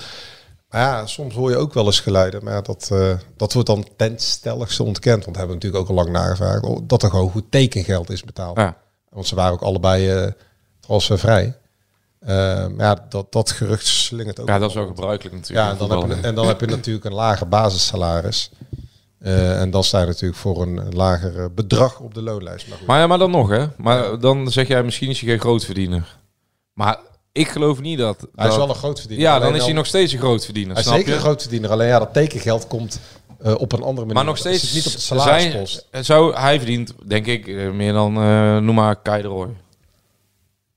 F: Maar ja, soms hoor je ook wel eens geluiden. Maar ja, dat, eh, dat wordt dan ten stelligste ontkend. Want dat hebben we natuurlijk ook al lang nagevraagd. oh, Dat er gewoon goed tekengeld is betaald.
G: Ja.
F: Want ze waren ook allebei eh transfervrij. Eh, maar ja, dat, dat gerucht slingert ook.
G: Ja, dat is wel gebruikelijk natuurlijk.
F: Ja, en
G: in
F: dan,
G: voetbal.
F: heb je, en dan heb je natuurlijk een lager basissalaris. Eh, en dan sta je natuurlijk voor een, een lager eh, bedrag op de loonlijst. Maar goed.
G: Maar ja, maar dan nog hè. Maar dan zeg jij misschien is je geen grootverdiener. Maar ik geloof niet dat...
F: hij is
G: dat-
F: wel een grootverdiener.
G: ja,
F: Alleen
G: dan is hij
F: al-
G: nog steeds een grootverdiener.
F: Hij is
G: snap
F: zeker
G: je?
F: een grootverdiener. Alleen ja, dat tekengeld komt eh, op een andere manier.
G: Maar nog
F: Dat
G: steeds
F: zit niet op de
G: zijn,
F: salarispost.
G: zou, hij verdient, denk ik, eh, meer dan, eh, noem maar Kai de Roy.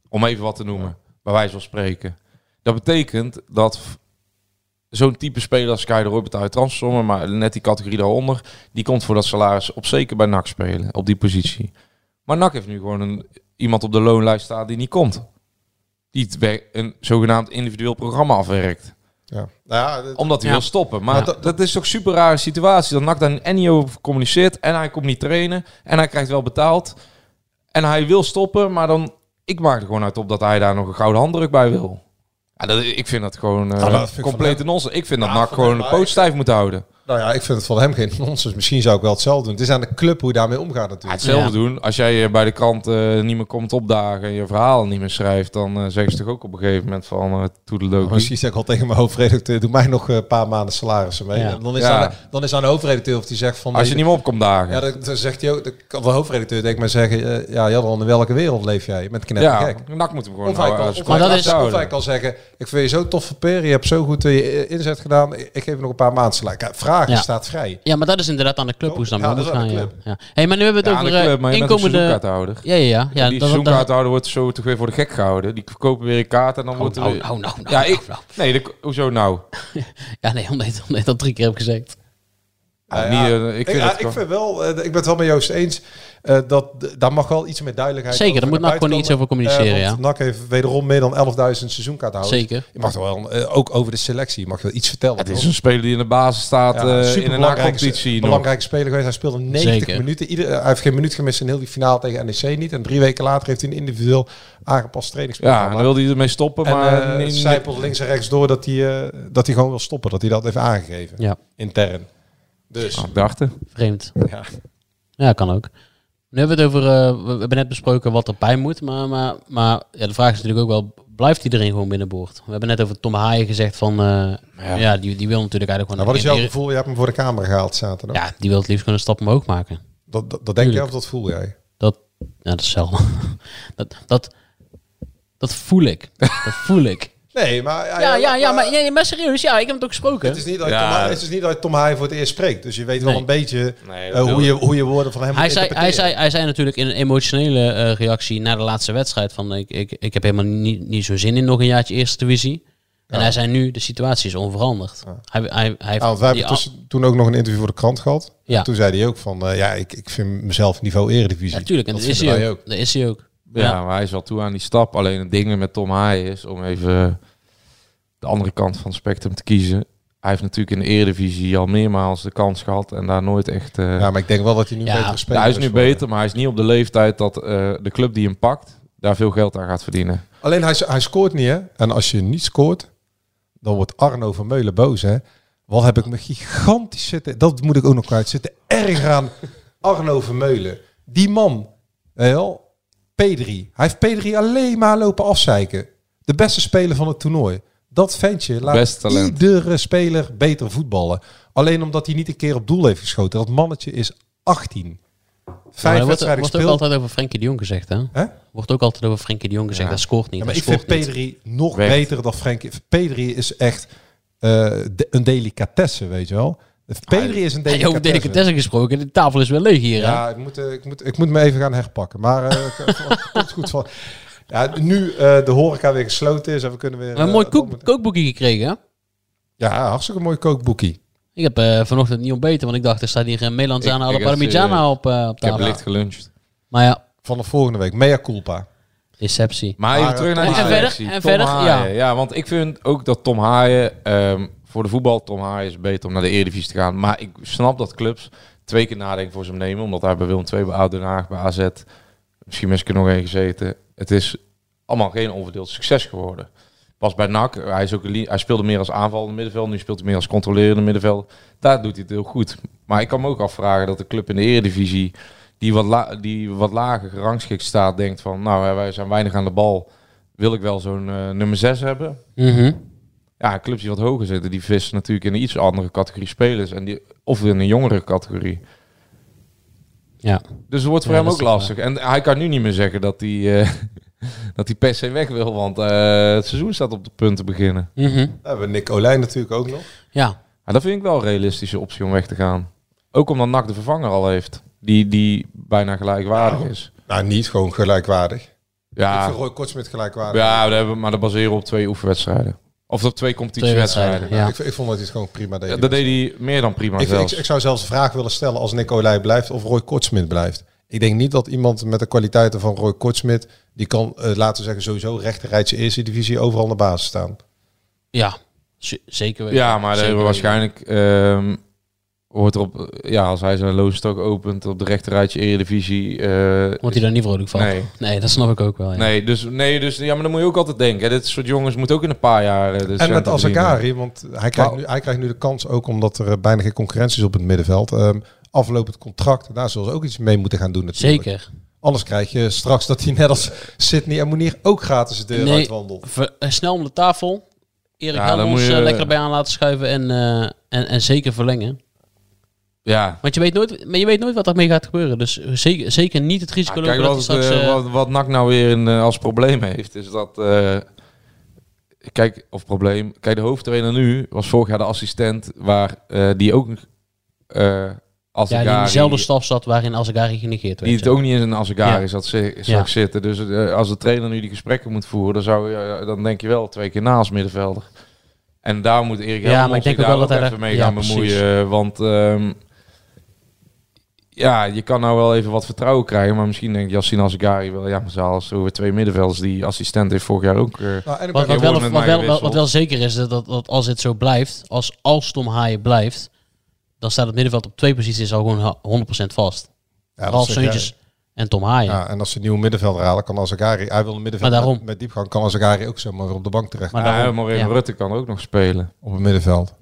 G: Om even wat te noemen, bij wijze van spreken. Dat betekent dat f- zo'n type speler als Kai de Roy betaalt transfersommen, maar net die categorie daaronder, die komt voor dat salaris op zeker bij NAC spelen, op die positie. Maar NAC heeft nu gewoon een, iemand op de loonlijst staan die niet komt. Die het wer- een zogenaamd individueel programma afwerkt.
F: Ja. Nou ja, dit-
G: Omdat hij
E: Ja.
G: wil stoppen. Maar
E: Ja.
G: dat, dat is toch super rare situatie. Dat NAC daar en niet over communiceert. En hij komt niet trainen. En hij krijgt wel betaald. En hij wil stoppen. Maar dan... Ik maak er gewoon uit op dat hij daar nog een gouden handdruk bij wil. Ja, dat, ik vind dat gewoon eh
F: Ah, dat vind ik van
G: complete
F: hem.
G: nonsens. Ik vind dat
F: Ja,
G: NAC
F: van
G: gewoon
F: hem,
G: een
F: maar
G: poot
F: ik-
G: stijf moet houden.
F: nou ja, ik vind het van hem geen nonsens. Misschien zou ik wel hetzelfde doen. Het is aan de club hoe je daarmee omgaat
G: Ja,
F: natuurlijk.
G: hetzelfde
E: Ja.
G: doen. Als jij eh, bij de krant eh, niet meer komt opdagen en je verhaal niet meer schrijft, dan eh, zeggen ze toch ook op een gegeven moment van eh toedeledokie.
F: Misschien zeg ik al tegen mijn hoofdredacteur, doe mij nog eh, een paar maanden salarissen mee.
E: Ja.
F: En Dan, is
G: Ja.
F: aan de, dan is aan de hoofdredacteur of die zegt van... eh,
G: Als je niet meer opkomt dagen.
F: Ja, dan, dan zegt hij ook, dan kan de hoofdredacteur denk ik maar zeggen, eh, ja Jadron, in welke wereld leef jij? Je bent
G: ja,
F: knettergek.
G: NAC moet hem gewoon
F: Of hij,
G: houden.
F: kan,
G: als
F: of,
E: Maar
F: hij
E: dat
F: kan,
E: is-
F: of hij kan zeggen, ik vind je zo tof verperen, je hebt zo goed eh, je inzet gedaan, ik ik geef je nog een paar maanden salaris. Kijk, Vragen
E: Ja.
F: staat vrij.
E: Ja, maar dat is inderdaad aan de club hoe ze
F: Ja,
E: daarmee
F: dat is aan
E: omgaan.
F: de
E: Ja. Ja. Hey, maar nu hebben we
G: Ja,
E: het
G: aan de
E: over eh,
G: club, maar je bent een
E: inkomende...
G: seizoenkaarthouder.
E: Ja, ja, ja. ja
G: die
E: dat- dat-
G: seizoenkaarthouder wordt zo toch weer voor de gek gehouden. Die verkopen weer een kaart en dan wordt er...
E: nou,
G: weer-
E: nou, nou, nou,
G: ja,
E: nou,
G: ik,
E: nou.
G: Nee, de- hoezo nou?
E: Ja, nee, omdat omdat ik dat drie keer heb gezegd.
G: Ja,
F: Ja,
G: niet, eh, ik vind
F: ja,
G: het
F: ik, vind wel, eh, ik ben het wel met Joost eens. eh, dat, d- daar mag wel iets meer duidelijkheid
E: Zeker, daar
F: over
E: moet
F: naar
E: NAC gewoon
F: buiten
E: iets
F: komen.
E: over
F: Eh,
E: communiceren,
F: want NAC heeft wederom meer dan 11.000 seizoenkaarthouders.
E: Zeker.
F: Je mag toch wel, eh, ook over de selectie, je mag wel iets vertellen.
G: Het
F: toch?
G: is een speler die in de basis staat
F: Ja,
G: eh, in een
F: superbelangrijke-
G: nacompetitie. nog.
F: belangrijke speler geweest. Hij speelde 90
E: Zeker.
F: minuten. Ieder, hij heeft geen minuut gemist in heel die finale tegen NEC niet. En drie weken later heeft hij een individueel aangepast
G: Ja, en
F: trainingsprogramma.
G: dan wilde hij ermee stoppen,
F: en
G: maar...
F: eh,
G: nee,
F: het
G: nee.
F: zijpelt links en rechts door dat hij, eh, dat hij gewoon wil stoppen. Dat hij dat heeft aangegeven.
E: Ja,
F: Intern. Dus,
G: Ah, ik dacht het.
E: vreemd.
F: ja.
E: Ja, kan ook. Nu hebben we het over... eh, we we hebben net besproken wat erbij moet. Maar, maar, maar ja, de vraag is natuurlijk ook wel... Blijft iedereen gewoon binnenboord? We hebben net over Tom Haaien gezegd van... eh, ja, die, die wil natuurlijk eigenlijk
F: Nou,
E: gewoon...
F: wat is jouw
E: die-
F: gevoel? Je hebt hem voor de camera gehaald zaterdag.
E: Ja, die wil het liefst gewoon een stap omhoog maken.
F: Dat, dat, dat denk je
E: Tuurlijk.
F: of dat voel jij?
E: Dat, ja, dat is hetzelfde. dat, dat, dat voel ik. Dat voel ik.
F: Nee, maar...
E: Ja, ja, ja, maar, nee, maar serieus, ja, ik heb het ook gesproken.
F: Het is, niet dat
G: Ja.
F: Tom Haaien- het is niet dat Tom Haaien voor het eerst spreekt. Dus je weet wel
E: Nee.
F: een beetje
G: Nee, dat
F: eh,
G: wil
F: hoe, je, hoe je woorden van hem
E: Hij
F: moet
E: zei, hij,
F: interpreteren.
E: zei, hij zei natuurlijk in een emotionele eh, reactie na de laatste wedstrijd van eh, ik, ik, ik heb helemaal niet, niet zo zin in nog een jaartje eerste divisie. En hij zei nu, de situatie is onveranderd. Hij, hij, hij heeft
F: Ja, want wij
E: die
F: Nou, hebben tussen- toen ook nog een interview voor de krant gehad.
E: Ja.
F: En toen zei hij ook van, eh, ja, ik, ik vind mezelf niveau eredivisie.
E: al- Ja, tuurlijk, en dat,
F: Dat
E: is
F: vinden
E: hij
F: wij
E: ook. Dat is hij ook.
G: Ja,
E: Ja.
G: maar hij is wel toe aan die stap. Alleen het ding met Tom Haaien is om even eh, de andere kant van het spectrum te kiezen. Hij heeft natuurlijk in de Eredivisie al meermaals de kans gehad en daar nooit echt... eh,
F: Ja, maar ik denk wel dat hij nu
E: Ja.
F: beter
G: ja,
F: speelt.
G: hij is nu beter, maar hij is niet op de leeftijd dat eh, de club die hem pakt, daar veel geld aan gaat verdienen.
F: Alleen hij, hij scoort niet, hè? En als je niet scoort, dan wordt Arno van Meulen boos, hè? Wat heb ik me gigantisch zitten... Dat moet ik ook nog kwijt zitten. Erg aan Arno van Meulen. Die man, weet je wel, P3. Hij heeft P3 alleen maar lopen afzeiken. De beste speler van het toernooi. Dat ventje laat
G: Best talent.
F: iedere speler beter voetballen. Alleen omdat hij niet een keer op doel heeft geschoten. Dat mannetje is 18.
E: Maar
F: Vijf
E: er wordt, er
F: wedstrijden
E: wordt ook
F: gespeeld.
E: altijd over Frenkie de Jong gezegd, hè?
F: Hè?
E: Wordt ook altijd over Frenkie de Jong gezegd.
G: Ja.
E: Hij scoort niet.
F: Ja, maar
E: hij
F: ik vind
E: scoort niet.
F: P3 nog
G: Werkt.
F: beter dan Frenkie. P3 is echt eh, de- een delicatesse, weet je wel. P3 is een
E: Hey,
F: delicatesse.
E: over delicatessen gesproken, de tafel is wel leeg hier, hè?
F: Ja, ik moet, eh, ik, moet, ik moet me even gaan herpakken. Maar eh, het komt goed van. Ja, nu eh, de horeca weer gesloten is en we kunnen weer...
E: We hebben
F: eh,
E: een mooi koek-
F: dan moet-
E: kookboekje gekregen, hè?
F: Ja, hartstikke mooi kookboekie.
E: Ik heb eh, vanochtend niet ontbeten, want ik dacht, er staat hier een Melanzana
G: Ik-
E: alla
G: ik had,
E: parmigiana
G: eh,
E: op, eh, op
G: Ik heb
E: tafel.
G: licht geluncht.
E: Maar ja,
F: Vanaf volgende week. Mea culpa.
E: deceptie.
G: Maar
F: Maar,
G: even terug naar
E: en
G: die
E: verder,
G: selectie.
E: en
G: Tom
E: verder,
G: Haaien.
E: ja.
G: want ik vind ook dat Tom Haaien... ehm, voor de voetbal, Tom Haaien is beter om naar de Eredivisie te gaan. Maar ik snap dat clubs twee keer nadenken voor ze hem nemen. Omdat hij bij Willem II, bij Oud Den Haag, bij AZ... Misschien mis ik er nog één gezeten. Het is allemaal geen onverdeeld succes geworden. Pas bij NAC, hij, is ook een li- hij speelde meer als aanvallende middenveld. Nu speelt hij meer als controlerende middenveld. Daar doet hij het heel goed. Maar ik kan me ook afvragen dat de club in de Eredivisie... die wat, la- die wat lager gerangschikt staat, denkt van... nou, hè, wij zijn weinig aan de bal. Wil ik wel zo'n eh, nummer 6 hebben?
E: Mhm.
G: Ja, clubs die wat hoger zitten, die vissen natuurlijk in een iets andere categorie spelers. En die, of in een jongere categorie.
E: Ja.
G: Dus het wordt voor
E: Ja,
G: hem
E: dat
G: ook
E: is toch
G: lastig. En hij kan nu niet meer zeggen dat hij, eh, dat hij per se weg wil. Want eh, het seizoen staat op de punt te beginnen.
E: Mhm.
F: We hebben we Nick Olijn natuurlijk ook nog.
E: Ja.
G: Ja, dat vind ik wel een realistische optie om weg te gaan. Ook omdat NAC de vervanger al heeft. Die, die bijna gelijkwaardig is.
F: Nou, niet gewoon gelijkwaardig. Ik
G: Ja,
F: vind Roy Kortsmit gelijkwaardig.
G: ja dat hebben we- maar dat baseren we op twee oefenwedstrijden. Of op twee competitiewedstrijden.
E: wedstrijden,
F: Ik,
E: ja.
F: ik vond dat hij het gewoon prima deed.
G: Ja, dat deed hij meer dan prima
F: Ik, ik,
G: zelfs.
F: ik zou zelfs de vraag willen stellen als Nick Olij blijft of Roy Kortsmit blijft. Ik denk niet dat iemand met de kwaliteiten van Roy Kortsmit,
E: Dus
F: die kan, eh, laten we zeggen, sowieso rechterrijtse eerste divisie overal in de basis staan.
E: Ja. Z- Zeker weten.
G: Ja, maar
E: Zeker
G: er, waarschijnlijk ehm wordt er op, ja, als hij zijn loonstok opent op de rechterrijtje Eredivisie. eh,
E: Wordt hij daar niet vrolijk van?
G: Nee.
E: dat snap ik ook wel. Ja.
G: nee, dus, nee, dus ja, maar dan moet je ook altijd denken. hè. Dit soort jongens moet ook in een paar jaar. eh, de
F: En met
G: centen verdienen.
F: Azakari, want hij krijgt, nu, hij krijgt nu de kans ook omdat er eh, bijna geen concurrentie is op het middenveld. Ehm, aflopend contract, daar zullen ze ook iets mee moeten gaan doen natuurlijk.
E: Zeker.
F: Anders krijg je straks dat hij net als Sydney en Monier ook gratis de deur
E: Nee.
F: uitwandelt.
E: Ver- eh, snel om de tafel. Erik
G: Ja, dan
E: Helmons
G: moet je-
E: eh, lekker bij aan laten schuiven en, eh, en, en zeker verlengen.
G: Ja.
E: Want je weet nooit, maar je weet nooit wat daarmee gaat gebeuren. Dus zeker, zeker niet het
G: Ja,
E: risico
G: kijk,
E: lopen dat
G: wat,
E: hij straks...
G: eh,
E: eh,
G: wat, wat NAC nou weer een, eh, als probleem heeft, is dat... eh, kijk, of probleem... Kijk, de hoofdtrainer nu was vorig jaar de assistent, waar eh, die ook... eh als
E: ja, die in dezelfde staf zat waarin Azagari genegeerd werd.
G: Die het
E: ja.
G: ook niet in zijn Asagari
E: Ja.
G: zat, zi- zag
E: Ja.
G: zitten. Dus eh, als de trainer nu die gesprekken moet voeren, dan, zou, je, eh, dan denk je wel twee keer na als middenvelder. En daar moet Erik
E: Ja,
G: Helmond
E: maar ik
G: zich
E: denk ook
G: daar
E: wel dat hij
G: even
E: daar-
G: mee
E: ja,
G: gaan
E: precies.
G: bemoeien. Want ehm, ja, je kan nou wel even wat vertrouwen krijgen. Maar misschien denkt Yassin Asagari wel, ja, maar zelfs weer twee middenvelders die assistent heeft vorig jaar ook. eh,
F: Nou, en ik
E: Wat,
F: ben
E: wat,
G: wordt
E: wel,
G: met
E: wat,
G: mij
E: wel,
G: gewisseld.
E: wat wel zeker is, dat, dat, dat als dit zo blijft, als, als Tom Haaien blijft, dan staat het middenveld op twee posities al gewoon ha- 100% vast.
F: Ja, dat
E: Ralf
F: zeg jij.
E: Seuntjes en Tom Haaien.
F: Ja, en als ze een nieuwe middenvelder halen, kan Azagari... Hij wil een middenvelder
E: Maar daarom.
F: met, met diepgang, kan Azagari ook zomaar weer op de bank terecht.
E: Maar
G: nou,
E: daarom-
G: Moreno
E: ja.
G: Rutte kan ook nog spelen.
F: op het middenveld.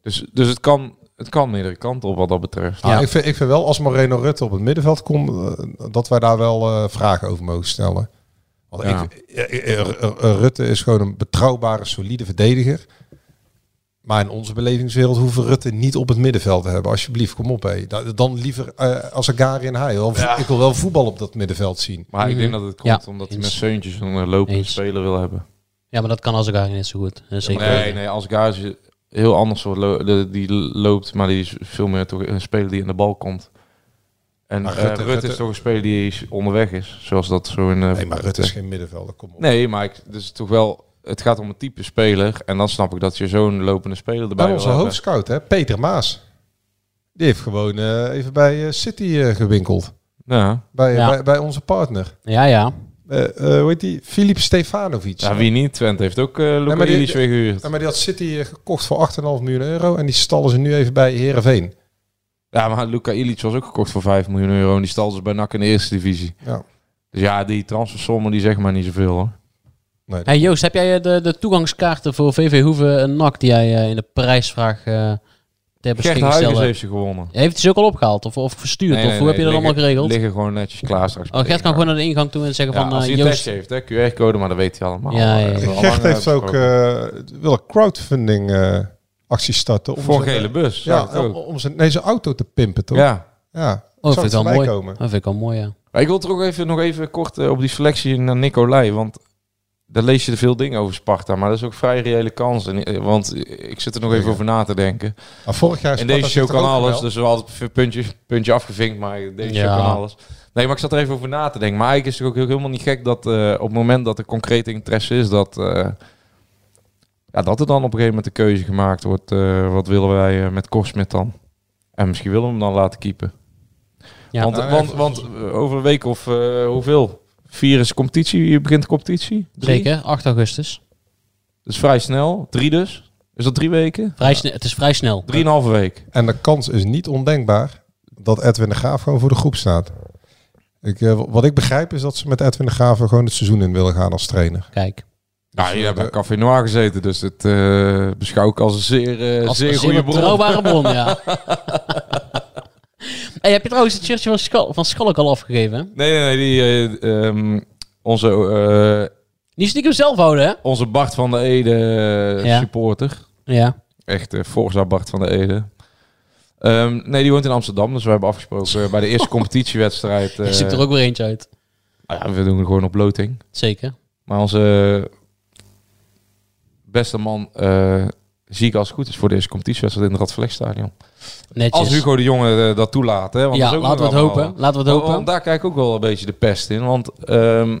G: Dus, dus het, kan, het kan meerdere kanten op wat dat betreft.
F: Nou, ik, vind, ik vind wel, als Moreno Rutte op het middenveld komt, eh, dat wij daar wel eh, vragen over mogen stellen. Want
G: Ja.
F: ik, eh, eh, eh, eh, Rutte is gewoon een betrouwbare, solide verdediger. Maar in onze belevingswereld hoeven Rutte niet op het middenveld te hebben. Alsjeblieft, kom op. Hé. Da- Dan liever eh als Agari en hij. Wel, Ik wil wel voetbal op dat middenveld zien.
G: Maar ik denk dat het komt
E: Mhm. Ja,
G: omdat hij
E: eens.
G: met Seuntjes een eh, lopende
E: Eens.
G: speler wil hebben.
E: Ja, maar dat kan Azagari net zo goed. Eh, Zeker.
G: Nee, nee, als Gazi een heel anders soort lo- de- die loopt, maar die is veel meer toch een speler die aan de bal komt. En
F: Maar
G: eh,
F: Rutte-
G: Rutte,
F: Rutte-
G: is toch een speler die is onderweg is, zoals dat zo in. eh,
F: Nee, maar Rutte is geen middenvelder. Kom op.
G: Nee, maar ik, dus toch wel. Het gaat om een type speler en dan snap ik dat je zo'n lopende speler erbij
F: Bij
G: wil
F: onze
G: hebben.
F: hoofdscout, hè, Peter Maas. Die heeft gewoon eh, even bij eh, City eh, gewinkeld.
G: Ja.
F: Bij,
E: Ja.
F: bij, bij onze partner.
E: Ja, ja.
F: Eh eh, hoe heet die? Filip Stefanovic.
G: ja, wie niet? Twente heeft ook eh Luca
F: maar die-
G: Ilić weer gehuurd.
F: Ja, maar die had City eh, gekocht voor 8,5 miljoen euro. En die stallen ze nu even bij Herenveen.
G: Ja, maar Luca Ilić was ook gekocht voor 5 miljoen euro en die stal ze bij NAC in de eerste divisie.
F: Ja.
G: Dus ja, die transfersommen die zeggen maar niet zoveel hoor.
E: Hey Joost, heb jij eh, de, de toegangskaarten voor VV Hoeven en NAC die jij eh, in de prijsvraag eh ter
G: Gert
E: beschikking
G: Huygens
E: stelde?
G: heeft ze gewonnen.
E: Heeft hij ze ook al opgehaald of, of verstuurd?
G: Nee,
E: of
G: nee,
E: hoe heb je
G: nee,
E: dat allemaal
G: liggen-
E: geregeld?
G: Liggen gewoon netjes klaar straks.
E: Oh, Gert kan gewoon naar de ingang toe en zeggen
G: Ja,
E: van
G: als
E: eh,
G: hij een
E: Joost.
G: testje heeft, hè, QR-code, maar dat weet hij allemaal.
E: Ja, ja, ja.
G: Eh, al
F: Gert
G: lang
F: heeft ook
G: uitgesproken.
F: eh, wil een crowdfunding eh actie starten. Om
G: voor
F: zijn-
G: gele bus. Ja,
F: Ja, om, om zijn, nee, zijn auto te pimpen, toch?
G: ja.
F: ja
E: Oh,
F: Zou
E: dat vind
F: het
E: ik wel
F: voorbij
E: mooi.
F: komen?
E: Dat vind ik wel mooi, ja.
G: Maar ik wil toch ook even, nog even kort eh, op die selectie naar Nicolai. Want daar lees je er veel dingen over Sparta. Maar dat is ook vrij reële kans. En, eh, want ik zit er nog even
F: Ja.
G: over na te denken.
F: Maar vorig jaar...
G: En
F: Sparta
G: deze show
F: zit er
G: kan
F: ook
G: alles.
F: wel.
G: Dus we hadden het puntje, puntje afgevinkt, maar deze
E: Ja.
G: show kan alles. Nee, maar ik zat er even over na te denken. Maar eigenlijk is het ook heel- helemaal niet gek dat eh, op het moment dat er concrete interesse is, dat, eh, ja, dat er dan op een gegeven moment de keuze gemaakt wordt. eh, wat willen wij eh, met Korsmit dan? En misschien willen we hem dan laten keepen.
E: Ja.
G: want,
F: Nou,
G: want, want eh, over een week of eh, hoeveel? Vier is competitie, hier begint de competitie. Drie.
E: Zeker, 8 augustus.
G: Dat is vrij snel. Drie dus. Is dat drie weken?
E: Vrij sne- Het is vrij snel.
G: Drieënhalve week.
F: En de kans is niet ondenkbaar dat Edwin de Graaf gewoon voor de groep staat. Ik, eh, wat ik begrijp is dat ze met Edwin de Graaf gewoon het seizoen in willen gaan als trainer.
E: Kijk, Dus,
G: Nou,
E: eh,
G: hier hebben we Café Noir gezeten, dus het eh, beschouw ik als een zeer, eh,
E: als
G: zeer
E: een
G: goede
E: zeer
G: bron.
E: betrouwbare bron, ja. hey, heb je trouwens het shirtje van, Schal van Schalk al afgegeven? hè?
G: Nee, nee, nee. Die, eh, ehm, onze, eh,
E: Niet stiekem zelf houden, hè?
G: onze Bart van de Ede eh,
E: Ja.
G: supporter.
E: Ja.
G: Echt eh Forza Bart van de Ede. Ehm, nee, die woont in Amsterdam, dus we hebben afgesproken eh, bij de eerste competitiewedstrijd. eh,
E: Er zit er ook weer eentje uit.
G: nou ja, we doen er gewoon op loting.
E: Zeker.
G: Maar onze beste man eh, zie ik als het goed is voor de eerste competitiewedstrijd in het Radverlegstadion.
E: Netjes.
G: Als Hugo de Jonge eh, dat toelaat. Hè, want
E: ja,
G: dat is ook
E: laten we
G: nog
E: het
G: allemaal-
E: hopen. Laten we het
G: Want-
E: hopen.
G: Want Oh, daar kijk ik ook wel een beetje de pest in. Want, ehm,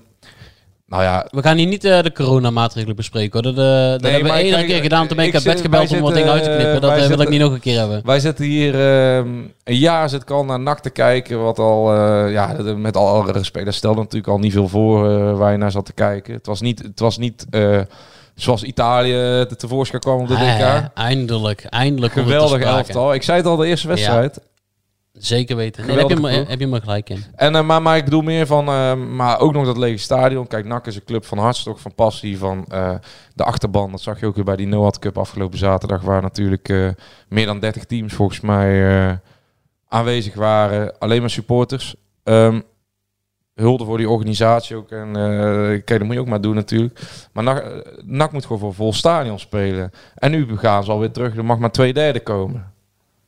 G: nou ja...
E: We gaan hier niet eh, de coronamaatregelen bespreken hoor. Dat, eh, dat
G: Nee,
E: hebben
G: maar ik
E: we één
G: kijk,
E: keer gedaan. Toen ben ik
G: ik
E: uit bed
G: zit-
E: gebeld
G: wij
E: om wat dingen
G: zitten,
E: uit te knippen.
G: eh,
E: Dat
G: wij
E: eh, wil ik
G: zitten-
E: niet nog een keer hebben.
G: Wij zitten hier ehm, een jaar zit ik al naar NAC te kijken. Wat al, eh, ja, dat- met alle respect, dat stelde natuurlijk al niet veel voor eh, waar je naar zat te kijken. Het was niet, het was niet eh, Zoals Italië te- tevoorschijn kwam op de
E: Ah,
G: DK.
E: ja, eindelijk, eindelijk. komt het ter
G: Geweldig
E: sprake.
G: elftal. Ik zei het al, de eerste wedstrijd.
E: Zeker weten. Nee, daar heb, je
G: Geweldige
E: me,
G: ploeg.
E: heb je me gelijk in.
G: En, eh, maar, maar ik bedoel meer van, eh, maar ook nog dat lege stadion. Kijk, NAC is een club van hartstocht, van passie, van eh, de achterban. Dat zag je ook weer bij die Noat Cup afgelopen zaterdag, waar natuurlijk eh, meer dan 30 teams volgens mij eh, aanwezig waren. Alleen maar supporters. Ehm, hulde voor die organisatie ook. En eh, kijk, dat moet je ook maar doen natuurlijk. Maar NAC, eh, NAC moet gewoon voor vol stadion spelen. En nu gaan ze alweer terug. Er mag maar twee derde komen.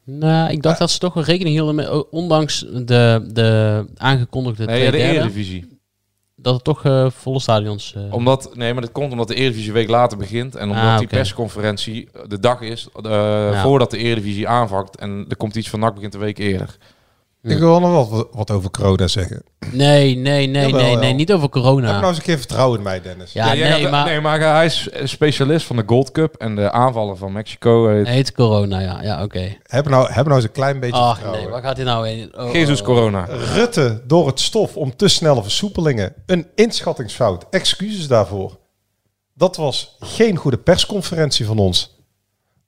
E: Nou, ik dacht dat ze toch wel rekening hielden met, o- ondanks de, de aangekondigde
G: Nee,
E: twee
G: de
E: derde,
G: Eredivisie. Oh.
E: dat het toch eh, volle stadions... eh,
G: Omdat, nee, maar dat komt omdat de Eredivisie een week later begint. En omdat
E: Ah,
G: die
E: oké.
G: persconferentie de dag is eh, voordat de Eredivisie aanvakt. En er komt iets van NAC begint een week eerder.
F: Ik wil nog wat, wat over Corona zeggen.
E: Nee, nee, nee,
F: Jawel,
E: nee,
F: wel.
E: nee, niet over
F: Heb
E: corona.
F: nou eens een keer vertrouwen in mij, Dennis.
E: ja,
G: jij
E: nee,
G: gaat-
E: maar
G: nee, maar hij is eh, specialist van de Gold Cup en de aanvallen van Mexico. eh,
E: heet corona, ja, ja oké.
F: Heb, nou, heb nou eens een klein beetje
G: oh,
E: Ach
F: vertrouwen.
E: nee, waar gaat dit nou in? Oh,
G: Jezus
E: oh, oh.
G: Corona.
F: Rutte door het stof om te snelle versoepelingen. Een inschattingsfout. Excuses daarvoor. Dat was geen goede persconferentie van ons.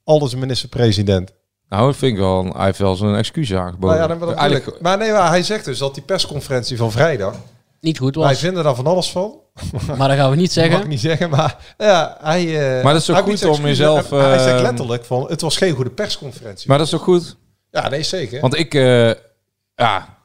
F: Alles minister-president.
G: Nou, dat vind ik wel. Hij heeft wel zijn excuus aangeboden.
F: Nou ja, dan wel
G: Eigenlijk-
F: natuurlijk. Maar nee, maar hij zegt dus dat die persconferentie van vrijdag.
E: Niet goed
F: Wij
E: was,
F: vinden daar van alles van.
E: maar dat gaan we
F: Dat
E: niet
F: mag ik
E: zeggen.
F: niet zeggen, maar ja, hij. eh,
G: Maar dat is ook
F: hij
G: goed
F: moet
G: om
F: excuses-
G: jezelf,
F: Hij, hij zegt
G: eh,
F: letterlijk van, het was geen goede persconferentie.
G: Maar dat is toch goed?
F: ja, nee, zeker.
G: Want ik, eh, ja,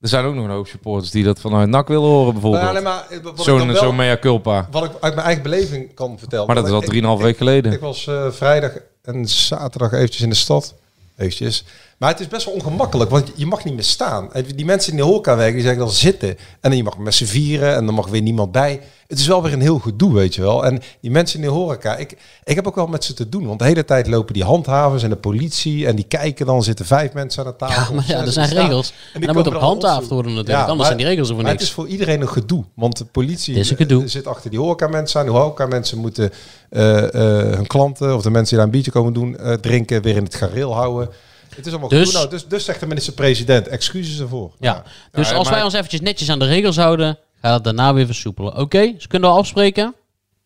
G: er zijn ook nog een hoop supporters die dat vanuit NAC willen horen
F: Maar ja,
G: bijvoorbeeld.
F: nee, maar, eh, wat, ik
G: Zo'n
F: dan wel-
G: zo'n mea culpa.
F: wat ik uit mijn eigen beleving kan vertellen.
G: Maar dat is al
F: Ik-
G: drieënhalf
F: ik-
G: week geleden.
F: Ik was eh, vrijdag en zaterdag eventjes in de stad. Eventjes. Maar het is best wel ongemakkelijk, want je mag niet meer staan. En Die mensen die in de horeca werken, die zeggen dan zitten. En dan je mag met z'n vieren en dan mag weer niemand bij. Het is wel weer een heel gedoe, weet je wel. En die mensen in de horeca, ik, ik heb ook wel met ze te doen. Want de hele tijd lopen die handhavers en de politie en die kijken dan. zitten vijf mensen aan de tafel.
E: Ja,
F: of
E: maar ja,
F: zes,
E: er
F: die
E: zijn
F: staan.
E: regels.
F: die
E: En dan
F: komen
E: moet op
F: dan
E: handhaafd
F: opzoeken.
E: worden
F: Ja,
E: natuurlijk, anders
F: maar-
E: zijn die regels er voor
F: maar het
E: niks.
F: is voor iedereen een gedoe. Want de politie
E: Het is een gedoe.
F: eh, zit achter die horecamensen aan. Die horecamensen moeten eh, eh, hun klanten of de mensen die daar een biertje komen doen, eh, drinken, weer in het gareel houden. Het is allemaal
E: Dus-
F: gedoe. Nou, dus, dus zegt de minister-president, excuses ervoor.
E: Ja. Dus
G: Ja,
E: als wij
G: maar-
E: ons eventjes netjes aan de regels houden, gaat het daarna weer versoepelen. Oké, dus kunnen we afspreken?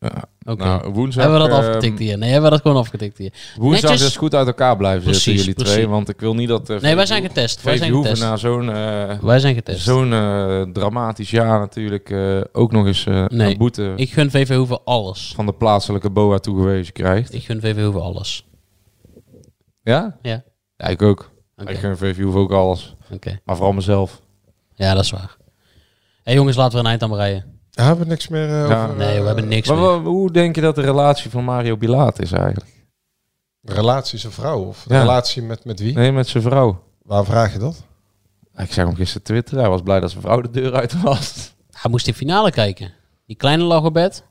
G: Ja,
E: Oké.
G: Nou, woensdag,
E: hebben we dat
G: eh,
E: afgetikt hier? Nee, hebben we dat gewoon afgetikt hier?
G: Woensdag
E: Netjes-
G: is goed uit elkaar blijven zitten,
E: Precies,
G: jullie
E: precies.
G: twee. Want ik wil niet dat... eh,
E: Nee, wij
G: VVD
E: zijn getest. Wij zijn
G: hoeven
E: getest.
G: na zo'n eh,
E: Wij zijn getest.
G: zo'n eh, dramatisch jaar natuurlijk eh, ook nog eens eh,
E: Nee,
G: een boete
E: Ik gun VV Hoeven alles.
G: van de plaatselijke BOA toegewezen krijgt.
E: Ik gun VV Hoeven alles.
G: Ja?
E: Ja,
G: Ja, ik ook.
E: oké.
G: Ik gun VVU ook alles.
E: oké.
G: Maar vooral mezelf.
E: Ja, dat is waar. Hé jongens, laten we een eind aan breien.
F: Hebben we niks meer eh,
G: Ja.
F: over
E: Nee, we hebben niks
G: Maar
E: meer.
G: wa- hoe denk je dat de relatie van Mario Bilaat is eigenlijk?
F: relaties een vrouw of
G: Ja.
F: relatie met, met wie?
G: Nee, met zijn vrouw. Ah,
F: Waar vraag je dat?
G: Ik zag hem gisteren twitteren. Hij was blij dat zijn vrouw de deur uit was.
E: Hij moest in finale kijken. Die kleine lag op bed.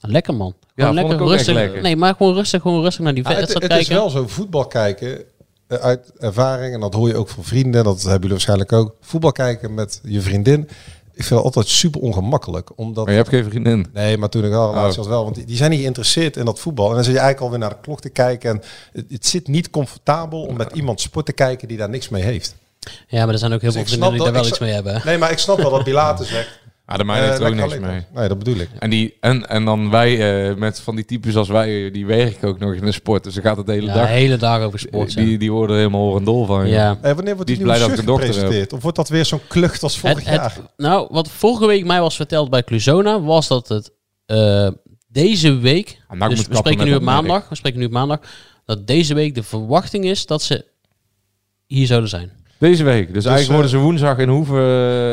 E: Ah, Lekker man. Gewoon
G: vond
E: lekker
G: ik ook echt
E: rustig.
G: lekker.
E: Nee, maar gewoon rustig, gewoon rustig naar die
F: Ah, het
E: wedstrijd
F: het is
E: kijken.
F: wel zo, voetbal kijken eh, uit ervaring, en dat hoor je ook van vrienden, dat hebben jullie waarschijnlijk ook. Voetbal kijken met je vriendin, ik vind dat altijd super ongemakkelijk. Omdat
G: Maar je hebt geen vriendin.
F: Nee, maar toen ik al een relatie
G: Oh.
F: had wel. Want die, die zijn niet geïnteresseerd in dat voetbal. En dan zit je eigenlijk alweer naar de klok te kijken. En het, het zit niet comfortabel om met iemand sport te kijken die daar niks mee heeft.
E: Ja, maar er zijn ook heel
F: Dus
E: veel
F: ik
E: vrienden
F: snap
E: die daar
F: dat-
E: wel
F: ik
E: iets mee hebben.
F: Nee, maar ik snap wel dat Pilatus zegt.
G: Ah, de mijne
F: eh,
G: heeft er ook
F: lekker
G: niks
F: alleen
G: mee.
F: maar. Nee, dat bedoel ik.
G: En, die, en, en dan wij, eh, met van die types als wij, eh, die werken ook nog in de sport. Dus dan gaat het de hele
E: Ja,
G: dag.
E: de hele dag over sport.
G: Eh,
E: ja.
G: die, die worden er helemaal horendol van. joh.
E: ja.
F: Eh, wanneer wordt die,
G: Die is
F: nieuwe
G: blij dat eh,
F: shirt
G: ik een dochter heb.
F: gepresenteerd? Of wordt dat weer zo'n klucht als vorig
E: Het,
F: jaar?
E: het, nou, wat vorige week mij was verteld bij Cluzona, was dat het eh, deze week,
G: Ah, nou, ik moet
E: dus we
G: kappen
E: spreken
G: met
E: nu op
G: dat merk.
E: maandag, we spreken nu op maandag, dat deze week de verwachting is dat ze hier zouden zijn.
G: Deze week. Dus, eigenlijk
F: eh,
G: worden ze woensdag in Hoeven.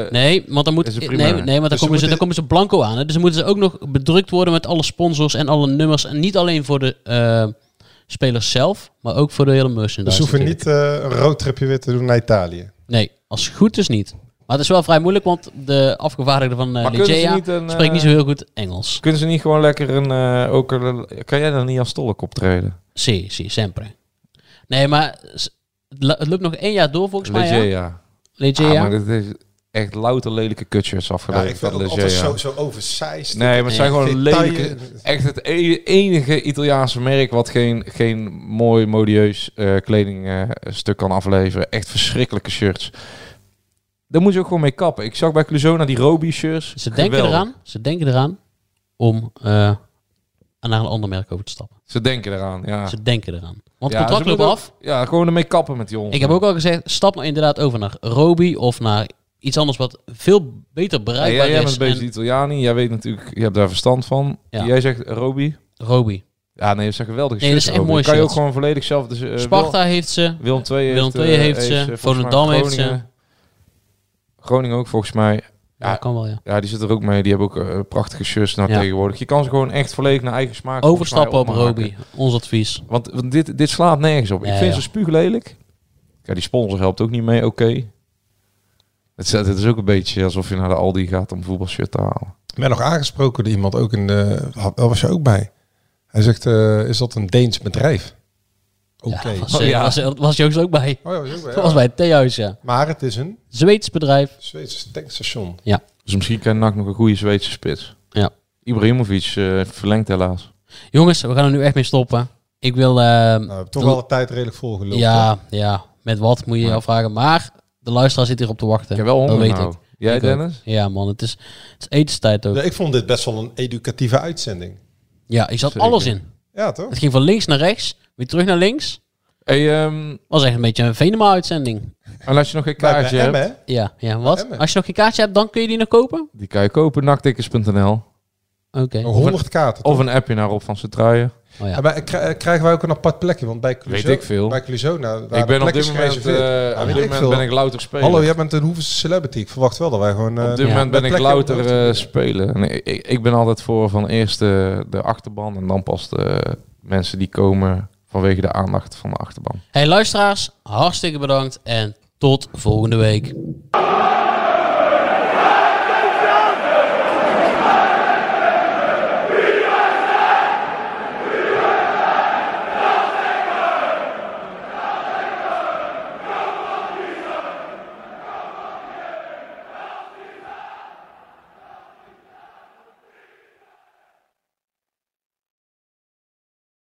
G: eh,
E: Nee, want dan,
G: Is
E: moet,
G: het
E: nee,
G: prima.
E: nee, want dan,
F: Dus ze
E: komen ze, dan
F: moeten-
E: komen ze blanco aan. Hè? Dus dan moeten ze ook nog bedrukt worden met alle sponsors en alle nummers. En niet alleen voor de eh, spelers zelf, maar ook voor de hele merchandise.
F: dus ze hoeven
E: natuurlijk.
F: niet eh, een roadtripje weer te doen naar Italië.
E: Nee, als het goed is niet. Maar het is wel vrij moeilijk, want de afgevaardigde van eh
G: Maar kunnen ze
E: Ligea
G: niet een,
E: spreekt niet zo
G: eh,
E: heel goed Engels.
G: Kunnen ze niet gewoon lekker een. eh, ook een- kan jij dan niet als tolk optreden?
E: Si, si, sempre. Nee, maar s- het lu- het lukt nog één jaar door volgens mij. ja?
G: Legea. Ah,
E: Legea.
G: maar dit is echt louter lelijke kutjes
F: Ja,
G: afgeleverd
F: ik vind
G: van
F: dat altijd
G: Legea.
F: zo, zo oversized.
G: Nee, maar het zijn gewoon
F: Detail-
G: lelijke. Echt het e- enige Italiaanse merk wat geen, geen mooi modieus eh, kledingstuk kan afleveren. Echt verschrikkelijke shirts. Daar moet je ook gewoon mee kappen. Ik zag bij Cluzona die Roby shirts.
E: Ze denken
G: Geweldig.
E: eraan. Ze denken eraan. om eh, naar een ander merk over te stappen.
G: Ze denken eraan, ja.
E: Ze denken eraan. Want
G: Ja,
E: het contract
G: ze
E: loopt
G: moeten
E: af.
G: ook- Ja, gewoon ermee kappen met die onzin.
E: Ik heb ook al gezegd, stap nou inderdaad over naar Robi of naar iets anders wat veel beter
G: Ja,
E: bereikbaar
G: jij, jij
E: is.
G: bent bezig
E: en
G: Italiani, jij weet natuurlijk, je hebt daar verstand van.
E: Ja.
G: Jij zegt Roby. Eh,
E: Robi.
G: Ja, nee, dat is een geweldige
E: Nee, dat is
G: shirts,
E: echt
G: Roby.
E: mooi
G: Kan je ook
E: shirts.
G: gewoon volledig zelf... Dus, eh, Wil-
E: Sparta heeft ze.
G: Willem II heeft,
E: Willem II
G: eh,
E: heeft
G: eh,
E: ze,
G: volgens
E: Volendam
G: mij
E: heeft ze.
G: Groningen. Groningen ook volgens mij.
E: Ja,
G: Ja.
E: kan wel ja.
G: Ja, die zitten er ook mee. Die hebben ook eh, prachtige shirts nou
E: Ja.
G: tegenwoordig. Je kan ze gewoon echt volledig naar eigen smaak volgens
E: Overstappen
G: mij
E: op
G: opmaken.
E: Robi. Ons advies.
G: Want, want dit, dit slaat nergens op.
E: Nee,
G: ik vind
E: joh.
G: ze spuuglelijk. Ja, die sponsor helpt ook niet mee, oké. Het, is, het is ook een beetje alsof je naar de Aldi gaat om een voetbalshirt te halen.
F: Ik ben nog aangesproken door iemand, ook in de, had- daar was je ook bij. Hij zegt, eh, is dat een Deens bedrijf? Oké.
E: Ja, was,
G: Oh,
E: eh,
G: ja.
E: was, was je ook zo ook bij.
F: Oh, ja, dat is ook wel, ja.
E: Dat was bij het theehuis, ja.
F: Maar het is een
E: Zweeds bedrijf.
F: Zweedse tankstation.
G: Dus misschien kan NAC nog een goede Zweedse spits.
E: Ja.
G: Ibrahimovic eh, verlengt helaas.
E: Jongens, we gaan er nu echt mee stoppen. Ik wil... ehm,
F: Nou, we hebben toch
E: de-
F: wel de tijd redelijk volgelopen.
E: Ja, ja. Met wat moet je je afvragen. Maar de luisteraar zit hierop te wachten.
G: Ik heb wel honger
E: Dat weet
G: nou.
E: ik.
G: Jij
E: Ik ook.
G: Dennis?
E: Ja man, het is, het is etenstijd ook.
F: Ja, Dus ik vond dit best wel een educatieve uitzending.
E: Ja, ik zat
G: Zeker.
E: alles in.
F: Ja, toch?
E: Het ging van links naar rechts, weer terug naar links.
G: Hey, ehm,
E: Was echt een beetje een Venema-uitzending.
G: en als je nog geen
F: Blijkt
G: kaartje
F: bij M,
G: hebt,
F: hè?
E: Ja, ja,
G: Nou,
E: wat?
F: Emmen.
E: Als je nog geen kaartje hebt, dan kun je die nog kopen?
G: die kan je kopen, naktickers.nl.
E: Oké.
G: Oh.
F: Nog 100 kaarten.
G: Of een appje naar Rob van Centruijen.
E: Oh, ja.
F: Ja, maar k- eh, krijgen wij ook een apart plekje? Want bij Cluzo,
G: Weet ik veel.
F: Bij Cluzo, nou, daar
G: Ik ben
F: de
G: op
F: plek
G: dit
F: is
G: moment,
F: gereserveerd.
G: eh,
F: Ja,
G: op
F: Ah, weet ik
G: dit moment
F: veel.
G: ben ik louter spelen.
F: Hallo, jij bent een hoeven celebrity. Ik verwacht wel dat wij gewoon... eh,
G: Op dit
E: Ja.
G: moment ben
F: Met
G: ik
F: plekken op
G: louter
F: de
G: eh,
F: hoogte.
G: spelen. En ik, ik- ik ben altijd voor van eerst eh, de achterban en dan pas de mensen die komen vanwege de aandacht van de achterban.
E: Hey luisteraars, hartstikke bedankt en tot volgende week.